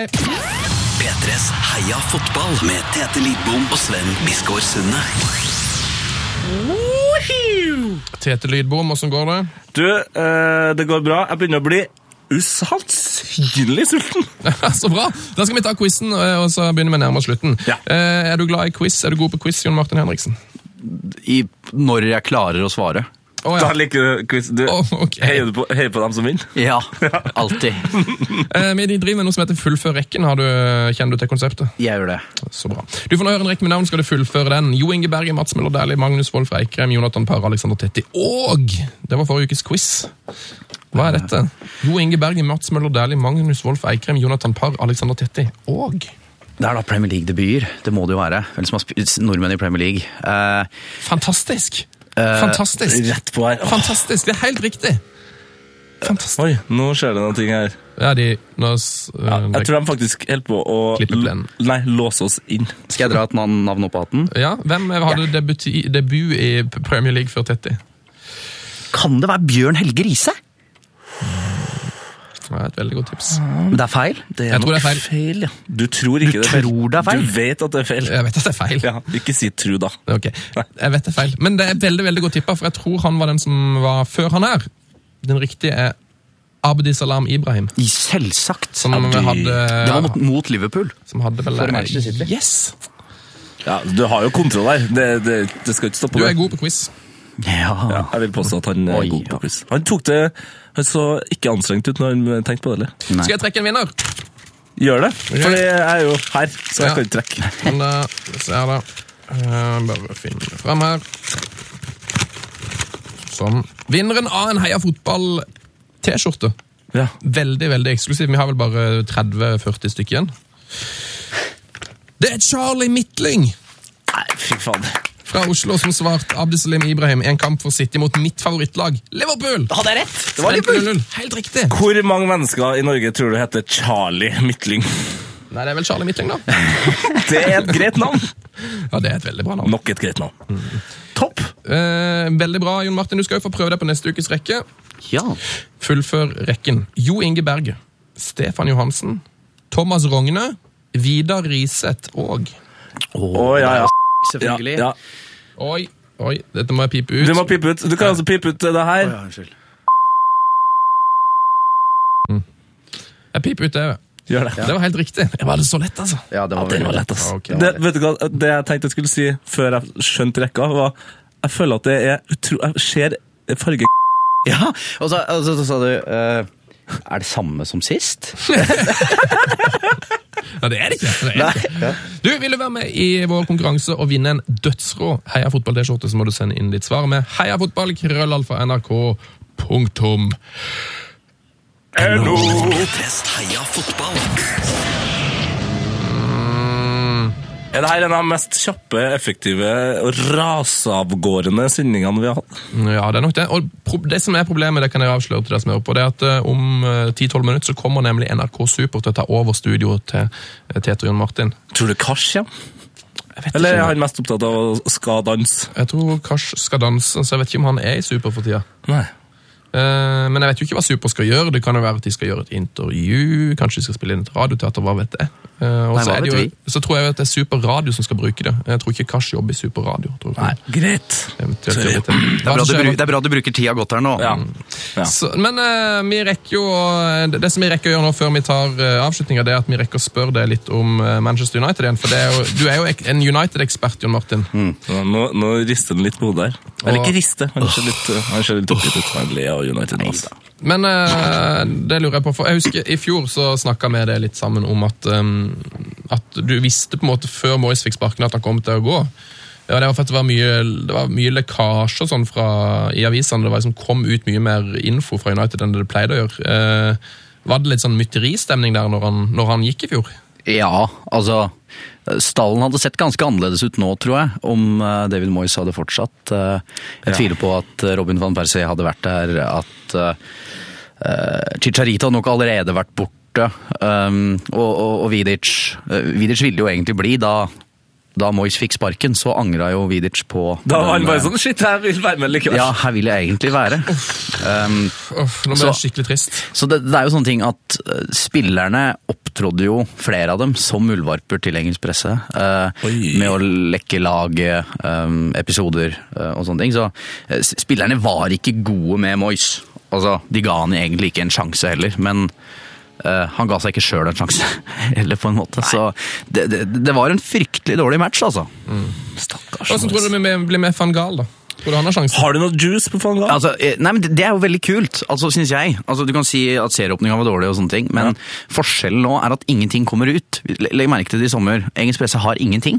P3s Heia fotball med Tete Lidbom og Sven Biskår Sunde.
Tete Lydbom, åssen går det? *laughs*
Du, eh, det går bra. Jeg begynner å bli usannsynlig sulten.
så bra! Da skal vi ta quizen, eh, og så begynner vi nærmere slutten.
Ja.
Eh, Er du glad i quiz? Er du god på quiz, Jon Martin Henriksen?
I, når jeg klarer å svare.
Å
Da
ja.
liker du quiz. Du,
Å, ok.
heier du på, heier på dem som vinner?
*laughs* Ja, alltid.
Eh, Vi driver med noe som heter Fullfør rekken. Har du, eh, kjenner du til konseptet?
Jeg gjør det.
Så bra. Du får nå høre en rekke med navn, skal du fullføre den. Jo Inge Berge, Mats Møller Dæhlie, Magnus Wolff Eikrem, Jonathan Parr, Alexander Tetti og Det var forrige ukes quiz. Hva er dette? Jo Inge Berge, Mats Møller Dæhlie, Magnus Wolff Eikrem, Jonathan Parr, Alexander Tetti og
Det er da Premier League-debuter. Det må det jo være. Vel, som har sp- nordmenn i Premier League. Eh,
Fantastisk!
Eh,
Fantastisk!
Rett på her.
Fantastisk, det er helt riktig. Fantastisk.
Oi, nå skjer det noen ting her.
Ja, de, nå, s- eh,
Jeg tror de faktisk holder på å
Klippe plenen.
l- Nei, låse oss inn.
skal jeg dra et navn navn opp av hatten?
ja, hvem hadde debut, i- debut i P- Premier League før 30?
Kan det være Bjørn Helge Riise?
Det er et veldig godt tips.
Mm.
Men det er feil.
Det
Mm. Jeg tror det er
nok
feil.
ja. Du tror ikke
Du
det er feil.
tror det er feil?
Du vet at det er feil.
Jeg vet at det er feil.
Ja, ikke si tro, da.
Ok, jeg vet det er feil. Men det er veldig veldig godt tippa, for jeg tror han var den som var før han her. Den riktige er Abdi Salam Ibrahim,
I- Selvsagt.
som
Ja, du-
hadde
Det var mot, mot Liverpool.
Som hadde vel
For Manchester City.
Yes!
Ja, du har jo kontroll her. Det, det, det skal ikke stoppe
Du er
deg.
god på quiz.
Ja,
Ja.
jeg vil påstå at han er
Oi,
god på
ja.
quiz. Han tok det Han så ikke anstrengt ut når han tenkte på det. eller?
Nei.
Skal jeg trekke en vinner?
Gjør det, for
Ok.
jeg er jo her, så jeg
Ja.
kan ikke trekke.
Men da ser jeg det. Eh, Bare finne det fram her. Sånn. Vinneren av en Heia Fotball-T-skjorte.
Ja.
Veldig, veldig eksklusiv. Vi har vel bare 30-40 stykker igjen. Det er Charlie Midtlyng
Nei, fy faen.
fra Oslo som svarte Abdesalim Ibrahim i en kamp for City mot mitt favorittlag, Liverpool.
Hadde jeg rett? Det var Liverpool!
0-0. Helt riktig.
Hvor mange mennesker i Norge tror du heter Charlie Midtlyng?
Nei, det er vel Charlie Midtlyng, da.
Det er et greit navn.
Ja, det er et veldig bra navn.
Nok et greit navn. Topp.
Eh, veldig bra, Jon Martin. Du skal jo få prøve deg på neste ukes rekke.
Ja.
Fullfør rekken. Jo Inge Berge, Stefan Johansen, Thomas Rogne, Vidar Riseth og
Å, ja, ja. ja,
Selvfølgelig.
ja.
Oi, oi, dette må jeg pipe ut.
Du må pipe ut. Du kan altså pipe ut det her.
Jeg piper ut det.
Gjør det.
Det var helt riktig. Det var så lett, altså.
Ja, det var,
Den var lett, ass.
Ja, ok.
det, vet du hva, det jeg tenkte jeg skulle si før jeg skjønte rekka, var jeg føler at det er utro... Jeg ser farge
Ja, og så, og så, så sa du eh, Er det samme som sist?
Nei, det er det ikke. Det er det ikke. Du, Vil du være med i vår konkurranse og vinne en dødsrå Heia fotball-T-skjorte, så må du sende inn ditt svar med heia fotball, krøllalfa, nrk, punktum.
P3s Heia fotball.
Er det her en av de mest kjappe, effektive og rasavgårende sendingene vi har hatt?
Ja, det er nok det. Og pro det som er problemet, det kan jeg avsløre til deg som er oppe, det er at eh, om eh, 10-12 minutter så kommer nemlig NRK Super til å ta over studioet til eh, Tete og Jon Martin.
Tror du Kars kommer? Eller er han mest opptatt av å skal danse?
Jeg tror Kash skal danse, så jeg vet ikke om han er i Super for tida.
Nei.
Eh, men jeg vet jo ikke hva Super skal gjøre. Det kan jo være at de skal gjøre et intervju, kanskje de skal spille inn et radioteater, hva vet jeg. Eh, og
Nei,
så,
hva
er det jo,
vet
så tror jeg jo at det er Super Radio som skal bruke det. Jeg tror ikke Kash jobber i Super Radio. Tror jeg.
Greit.
Eventuelt jobber til-
Det er, bra
Hva
du,
som skjer
bru-
nå?
det er bra du bruker tida godt her nå.
Ja. Ja.
Så, men eh, vi rekker jo å- det, det som vi rekker å gjøre nå før vi tar uh, avslutninga, det er at vi rekker å spørre deg litt om eh, Manchester United igjen. For det er jo, du er jo ek, en United-ekspert, Jon Martin.
Mm.
Ja, Nå, nå rister han litt på hodet her. Eller
Og-
ikke riste, han ser litt, uh, han ser litt oppgitt ut. Han ler av United nå. altså.
Men eh, det lurer jeg på, for jeg husker i fjor så snakka vi det litt sammen om at, eh, at du visste på en måte før Moyes fikk sparken at han kom til å gå. Ja, det var for at det var mye, det var mye lekkasjer og sånn fra, i avisene. Det var liksom kom ut mye mer info fra United enn det pleide å gjøre. Eh, var det litt sånn mytteristemning der når han, når han gikk i fjor?
Ja, altså Stallen hadde sett ganske annerledes ut nå, tror jeg, om eh, David Moyes hadde fortsatt. Eh, Jeg tviler på at eh, Robin van Persie hadde vært der, at eh, eh, Chicharito hadde nok allerede vært borte, um, og, og, og Vidic. Eh, Vidic ville jo egentlig bli da. Da Moyes fikk sparken, så angra jo Vidic på
Da var
den,
han bare
eh,
sånn Shit, jeg vil være med likevel.
Ja, her vil jeg egentlig være.
*laughs*
Um,
Uff, nå ble
Så-
jeg skikkelig trist.
Så det, det er jo sånne ting at eh, spillerne opptrådde jo flere av dem som muldvarper til engelsk presse. eh,
Oi.
med å lekke laget, eh, episoder eh, og sånne ting. Så eh, s- spillerne var ikke gode med Moyes. Altså, de ga han egentlig ikke en sjanse heller, men eh, han ga seg ikke sjøl en sjanse. *laughs* Eller på en måte. Så det, det, det var en fryktelig dårlig match, altså.
Stakkars.
Hvordan tror du vi blir med van Gaal, da? Tror du han har sjansen?
Har du noe juice på Fangal?
Altså, eh, nei, men det det er jo veldig kult, altså, synes jeg. Altså, du kan si at serieåpninga var dårlig, og sånne ting, men forskjellen nå er at ingenting kommer ut. Le- Legg merke til det i sommer. Engelsk presse har ingenting.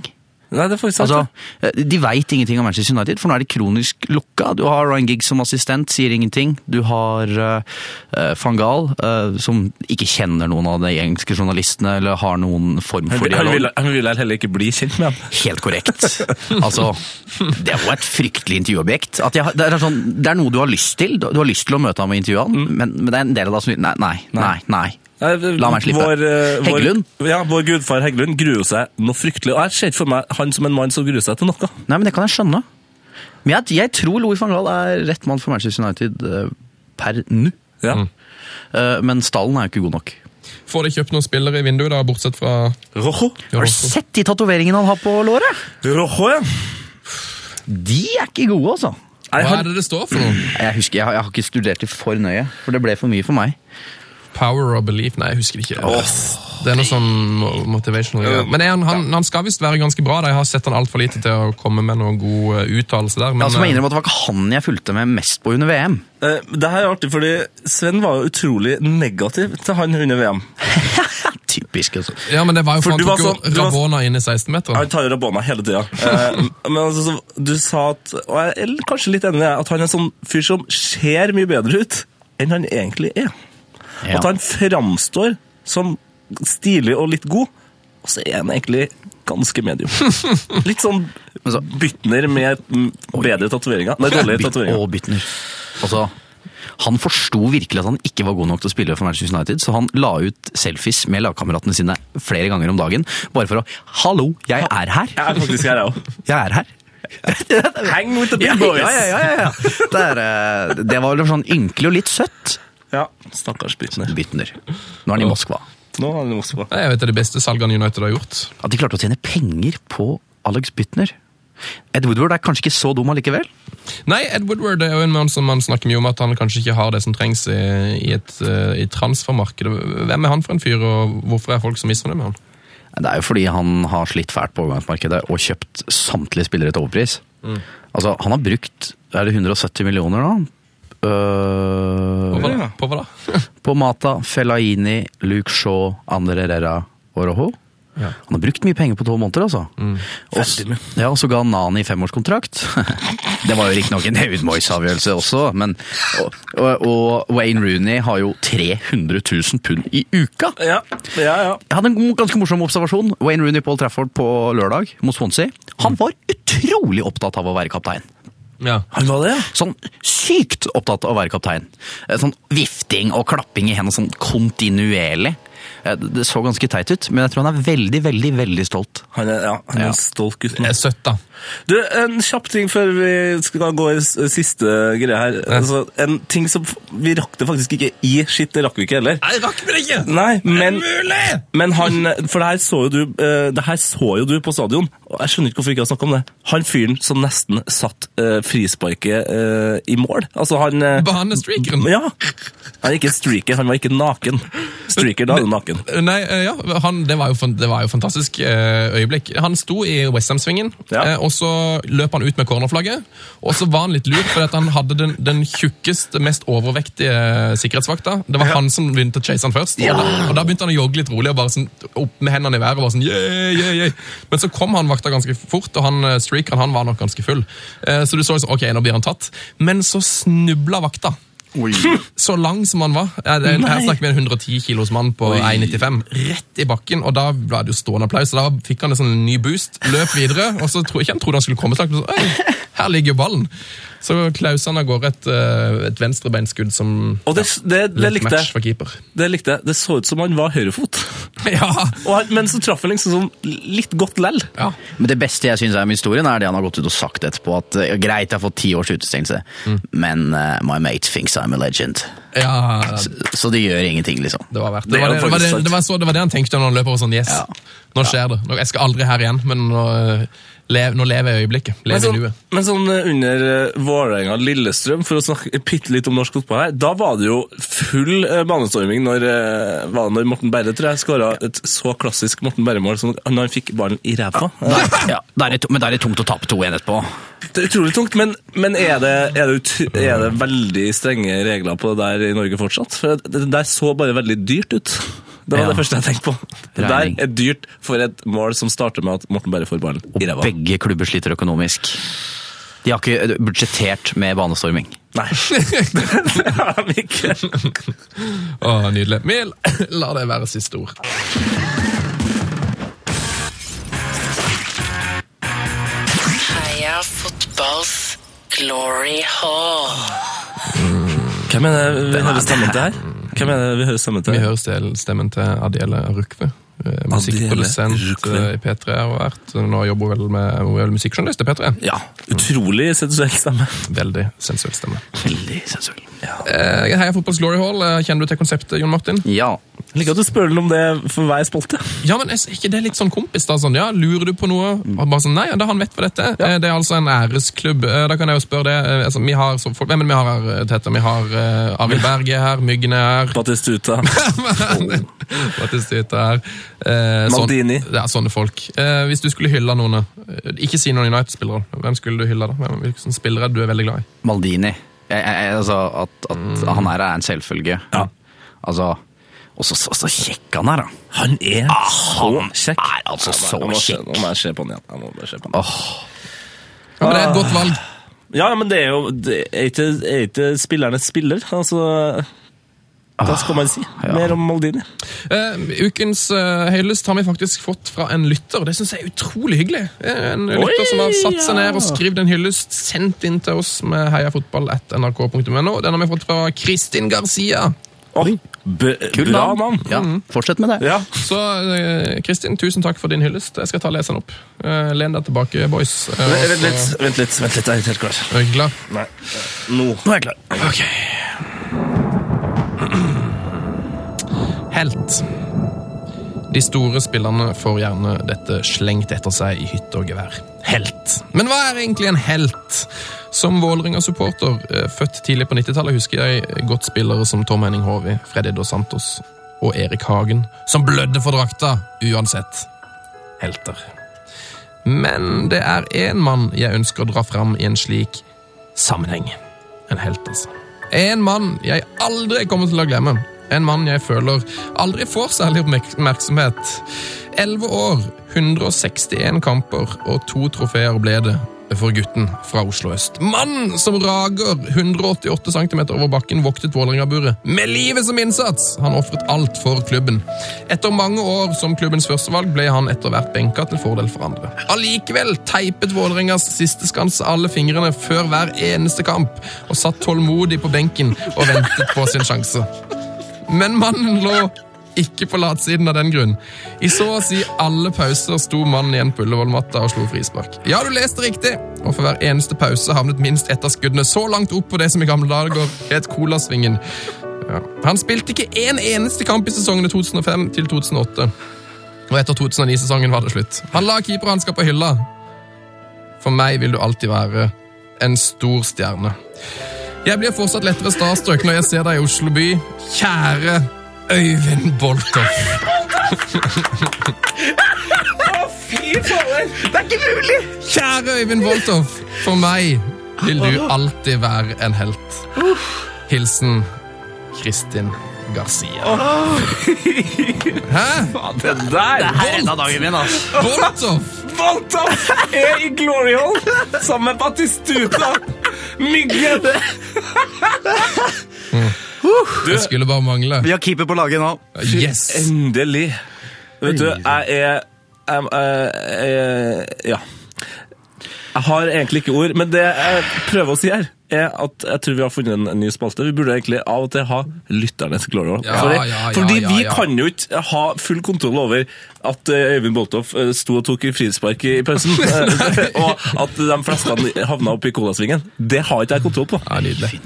Nei, det er faktisk sant.
Altså,
det.
eh, de veit ingenting om Manchester United, for nå er de kronisk lukka. Du har Ryan Giggs som assistent, sier ingenting. Du har eh, eh, van Gaal, eh, som ikke kjenner noen av de engelske journalistene, eller har noen form
Han
for
vil- han
dialog.
vil, han vil heller ikke bli kjent med ham.
Helt korrekt. Altså, det var et fryktelig intervjuobjekt. At jeg, har- det, er sånn, det er noe du har lyst til. Du du har lyst til å møte ham og intervjue ham, men, men det er en del av deg som Nei, nei, nei. nei. La meg slippe.
Vår, eh, vår,
Heggelund?
Ja, vår gudfar Heggelund gruer seg noe fryktelig. Og jeg ser ikke for meg han som en mann som gruer seg til noe.
Nei, men det kan jeg skjønne. Men jeg, jeg tror Louis van Gaal er rett mann for Manchester United eh, per nå.
Ja.
Mm.
Eh, Men stallen er jo ikke god nok.
Får de kjøpt noen spillere i vinduet, da, bortsett fra
Rojo.
Har du sett de tatoveringene han har på låret?
Rojo, ja.
De er ikke gode, altså.
Nei,
Hva er
han,
det det står for noe?
Jeg husker, jeg har, jeg har ikke studert det for nøye, for det ble for mye for meg.
Power or Belief? Nei, jeg husker ikke. Det er noe sånn mo- motivational greier. Men er han, han, han skal visst være ganske bra. da. Jeg har sett han altfor lite til å komme med noen god eh, uttalelse der. Men,
Altså, jeg
eh,
innrømmer at Det var ikke han jeg fulgte med mest på under VM.
Eh, Det her er artig, fordi Sven var jo utrolig negativ til han under VM.
Typisk, altså.
ja, men det var jo
For
for han
du var
tok jo
sånn- du var-
Ravona inn i 16-meteren.
Han tar jo rabona hele
*laughs*
tida. Eh, Men altså, så, du sa at Og jeg er kanskje litt enig i det, at han er en sånn fyr som ser mye bedre ut enn han egentlig er.
Ja.
At han framstår som stilig og litt god, og så er han egentlig ganske
*laughs*
medium. Litt sånn
Altså-
bytner med mm, bedre tatoveringer. Nei, dårlige
Byt-
tatoveringer.
Og Bytner. Altså, han forsto virkelig at han ikke var god nok til å spille for Manchester United, så han la ut selfies med lagkameratene sine flere ganger om dagen. Bare for å 'Hallo, jeg er her!
Jeg er faktisk her, jeg òg.
Jeg er her!'
Hang with the
Ja, ja,
big boys!
ja, ja, ja. Det, er, eh, det var vel sånn ynkelig og litt søtt.
Ja, Stakkars bytner.
Bytner. Nå er han i Moskva.
Nå er det Moskva.
Det er jo et av de beste salgene United har gjort.
At de klarte å tjene penger på Alex Bytner. Ed Woodward er kanskje ikke så dum allikevel.
Nei, Ed Woodward er jo en mann som man snakker mye om at han kanskje ikke har det som trengs i, i et eh, i transfermarkedet. Hvem er han for en fyr, og hvorfor er folk så misfornøyd med han?
Det er jo fordi han har slitt fælt på overgangsmarkedet og kjøpt samtlige spillere til overpris. Altså, han har brukt er det 170 millioner nå. Øh,
På hva da? På hva da? *laughs*
på Mata, Fellaini, Luke Shaw, Ander Herrera og Rojo.
Ja.
Han har brukt mye penger på tolv måneder, altså. Og, s- ja, og så ga han Nani femårskontrakt. *laughs* det var jo riktignok en David Moyes-avgjørelse også, men og, og, og Wayne Rooney har jo 300 000 pund i uka!
Ja, ja, ja.
Jeg hadde en god- ganske morsom observasjon. Wayne Rooney på Old Trafford på lørdag mot Swansea. Han var utrolig opptatt av å være kaptein.
Ja.
Han var det, ja.
Sånn sykt opptatt av å være kaptein. Eh, Sånn vifting og klapping i hendene sånn kontinuerlig. Eh, Det det så ganske teit ut, men jeg tror han er veldig, veldig, veldig stolt.
Han er, ja, han er
Ja.
en stolt gutt. nå.
Det er søtt, da.
Du, En kjapp ting før vi skal gå i s- siste greie her. Altså, en ting som f- Vi rakk det faktisk ikke i Shit, det rakk vi ikke heller.
Jeg rakk det ikke!
Nei, men,
Mulig!
men han For det her så jo du eh, Det her så jo du på stadion, og jeg skjønner ikke hvorfor vi ikke har snakka om det. Han fyren som nesten satt eh, frisparket eh, i mål. Altså, han eh,
Banestreakeren.
Ja! Han er ikke streaker, han var ikke naken. Streaker, da er du naken.
Nei, eh, ja, han, det, var jo, fan- det var jo fantastisk eh, øyeblikk. Han sto i Westham-svingen,
Ja.
eh, og så løp han ut med cornerflagget. Og så var han litt lur, for at han hadde den, den tjukkeste, mest overvektige eh, sikkerhetsvakta. Det var han som begynte å chase han først. Og, da, og da begynte han å jogge litt rolig og bare sånn, opp med hendene i været. og bare sånn, yeah, yeah, yeah. Men så kom han vakta ganske fort, og han eh, streakeren han var nok ganske full. Eh, så du så jo sånn, ok, nå blir han tatt. Men så snubla vakta. Så lang som han var. Ja, det- Her snakker vi en 110 kilos mann på 1,95. Rett i bakken, og da ble det jo stående applaus. og Da fikk han en sånn ny boost, løp videre, og så tror jeg ikke han trodde han skulle komme så langt. men så, «Oi, Her ligger jo ballen. Så klaus han av gårde et, eh, et venstrebeinskudd som
Og det, det, det
litt
likte
match for
jeg.
keeper. *laughs*
Det likte jeg. Det så ut som han var høyrefot.
Ja!
Og han- Men så traff han liksom sånn litt godt lell.
ja.
Men det beste jeg syns er med historien, er det han har gått ut og sagt etterpå. At eh, greit, jeg har fått ti års utestengelse, men eh, my mate thinks I'm a legend.
ja det,
Så det gjør ingenting, liksom.
det var verdt det. Det
Det er
var
jo
det, det, var
faktisk
det,
sant.
det, var så, det var det han tenkte når han løp over sånn. Yes,
Ja.
nå skjer det. Nå, jeg skal aldri her igjen, men nå, eh, lev, nå lever jeg i øyeblikket.
Men
Lever i
sånn,
nuet.
men sånn eh, under eh, Vålerenga-Lillestrøm, for å snakke bitte litt om norsk fotball her, da var det jo full eh, banestorming når, eh, var det når Morten Berre tror jeg, skåra et så klassisk Morten Berre-mål som når han fikk ballen i ræva. Eh,
Ja, da er det, to- men da er det tungt å tape 2-1 etterpå.
Det er utrolig tungt, men, men er, det, er, det ut, er det veldig strenge regler på det der i Norge fortsatt? For det det der så bare veldig dyrt ut. Det var
Ja.
det første jeg tenkte på. Det der
Regning.
er dyrt for et mål som starter med at Morten Berre får ballen i ræva.
Begge klubber sliter økonomisk. De har ikke budsjettert med banestorming.
Nei. *laughs* det har de ikke.
Å, nydelig. *laughs* Mil, la det være siste ord.
Heia fotballs glory hall.
Hvem er det vi hører stemmen til her? Hvem er det vi hører stemmen til?
Vi hører stel- stemmen til Adiele Rukve. eh, Musikkprodusent
Rukve.
eh, i P3 har hun vært. Nå jobber hun vel med hun er vel musikkjournalist i P3.
Ja, utrolig sensuell stemme.
Veldig sensuell stemme.
Veldig sensuell.
Eh, Heia Fotballs Glory Hall. eh, Kjenner du til konseptet, Jon Martin?
Ja.
Jeg liker at du spør den om det for hver spolte.
Ja, men er ikke det litt sånn kompis da? Sånn, ja, lurer du på noe? Og bare sånn, nei, ja, da han vet hva dette er. Eh, Det er altså en æresklubb. Eh, Da kan jeg jo spørre det. Eh, Altså, vi har, så, folk, hvem er det vi har her, Tete? Vi har eh, Arild Berge her, Myggen er her.
Batistuta.
Batistuta her. Eh, sånn-
Maldini.
Ja, sånne folk. Eh, hvis du skulle hylle noen, eh, ikke si noen United-spillere, hvem skulle du hylle da? Hvem, hvilken spillere er du er veldig glad i?
Maldini. Jeg, jeg, jeg, altså, at, at han her er en selvfølge. Altså, og så, så, så kjekk han er, da.
Han er Ah, så Ah. kjekk.
er altså så
Nå må jeg se-
kjekk.
Nå må jeg se på den igjen. Jeg må bare se på den.
Ja, men det er et
Ah.
godt valg.
Ja, men det er jo det er ikke, er ikke spillernes spiller. Altså Hva skal man si? Mer om Maldini.
Eh, ukens eh, høylyst har vi faktisk fått fra en lytter. Det syns jeg er utrolig hyggelig. Eh, En lytter som har satt seg ned og skrevet en hyllest, sendt inn til oss med heiafotball.nrk.no. Den har vi fått fra Kristin Garcia.
Oi, b bra navn!
Mm. Ja, fortsett med det.
Ja.
Så eh, Kristin, tusen takk for din hyllest. Jeg skal ta og lese den opp. Eh, len deg tilbake, boys. Eh, og
Vent litt,
så-
vent litt, vent litt, jeg er ikke helt klar.
Er du klar?
Nei. Nå. Nå er jeg klar.
Ok. Helt. De store spillerne får gjerne dette slengt etter seg i hytte og gevær. Helt. Men hva er egentlig en helt? Som Vålerenga-supporter, eh, født tidlig på 90-tallet, husker jeg godt spillere som Tom Henning Håvi, Freddy Dos Santos og Erik Hagen, som blødde for drakta uansett. Helter. Men det er én mann jeg ønsker å dra fram i en slik sammenheng. En helt, altså. En mann jeg aldri kommer til å glemme. En mann jeg føler aldri får særlig oppmerk- oppmerksomhet. 11 år, 161 kamper og to trofeer ble det for gutten fra Oslo øst. Mannen som rager 188 cm over bakken, voktet Vålerenga-buret med livet som innsats! Han ofret alt for klubben. Etter mange år som klubbens førstevalg ble han etter hvert benka til fordel for andre. Allikevel teipet Vålerengas siste skanse alle fingrene før hver eneste kamp, og satt tålmodig på benken og ventet på sin sjanse. Men mannen lå ikke på latsiden av den grunn. I så å si alle pauser sto mannen igjen på Ullevål-matta og slo frispark. Ja, du leste riktig! Og for hver eneste pause havnet minst ett av skuddene så langt opp på det som i gamle dager het Colasvingen. Ja. Han spilte ikke én eneste kamp i sesongene 2005 til 2008. Og etter 2009-sesongen var det slutt. Han la keeperhansker på hylla. For meg vil du alltid være en stor stjerne. Jeg blir fortsatt lettere starstruck når jeg ser deg i Oslo by. Kjære Øyvind Boltoff. Kjære Øyvind Boltoff, for meg vil du alltid være en helt. Hilsen Kristin Garcia. Hæ?
Det der!
Redda dagen min, altså.
Boltoff?
Boltoff er i Glory Hall sammen med Batistuta! Myggen!
Det skulle bare mangle.
Vi har keeper på laget nå.
Yes!
Endelig. Vet du, jeg er jeg, jeg, jeg, Ja. Jeg har egentlig ikke ord, men det jeg prøver å si her, er at jeg tror vi har funnet en, en ny spalte. Vi burde egentlig av og til ha lytternes glory hall.
Ja,
Fordi-
ja, ja,
fordi
ja,
vi
ja.
kan jo ikke ha full kontroll over at eh, Øyvind Boltoff eh, sto og tok frispark i pausen, *laughs* eh, og at de fleste havna opp i colasvingen. Det har ikke jeg kontroll på.
Ja, nydelig.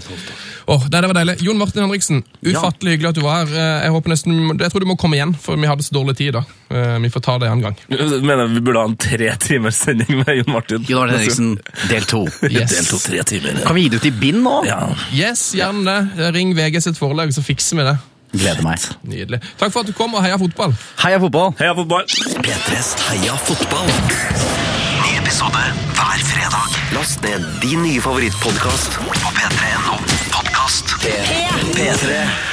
Åh, nei, det var deilig. Jon Martin Henriksen, ufattelig hyggelig at du var her. Eh, Jeg håper nesten, jeg tror du må komme igjen, for vi hadde så dårlig tid da. Eh, Vi får ta det en gang.
Jeg mener vi burde ha en tre timers sending med Jon Martin.
Gunnar Henriksen, del to.
Yes.
Deltok tre timer.
Kan vi gi det ut i bind nå?
Ja.
Yes, gjerne det. Ring VG sitt forlag, så fikser vi det.
Gleder meg.
Nydelig. Takk for at du kom, og heia fotball!
Heia fotball!
Heia fotball!
P3s Heia fotball. Ny episode hver fredag. Last ned din nye favorittpodkast på p3.no podkast. P3.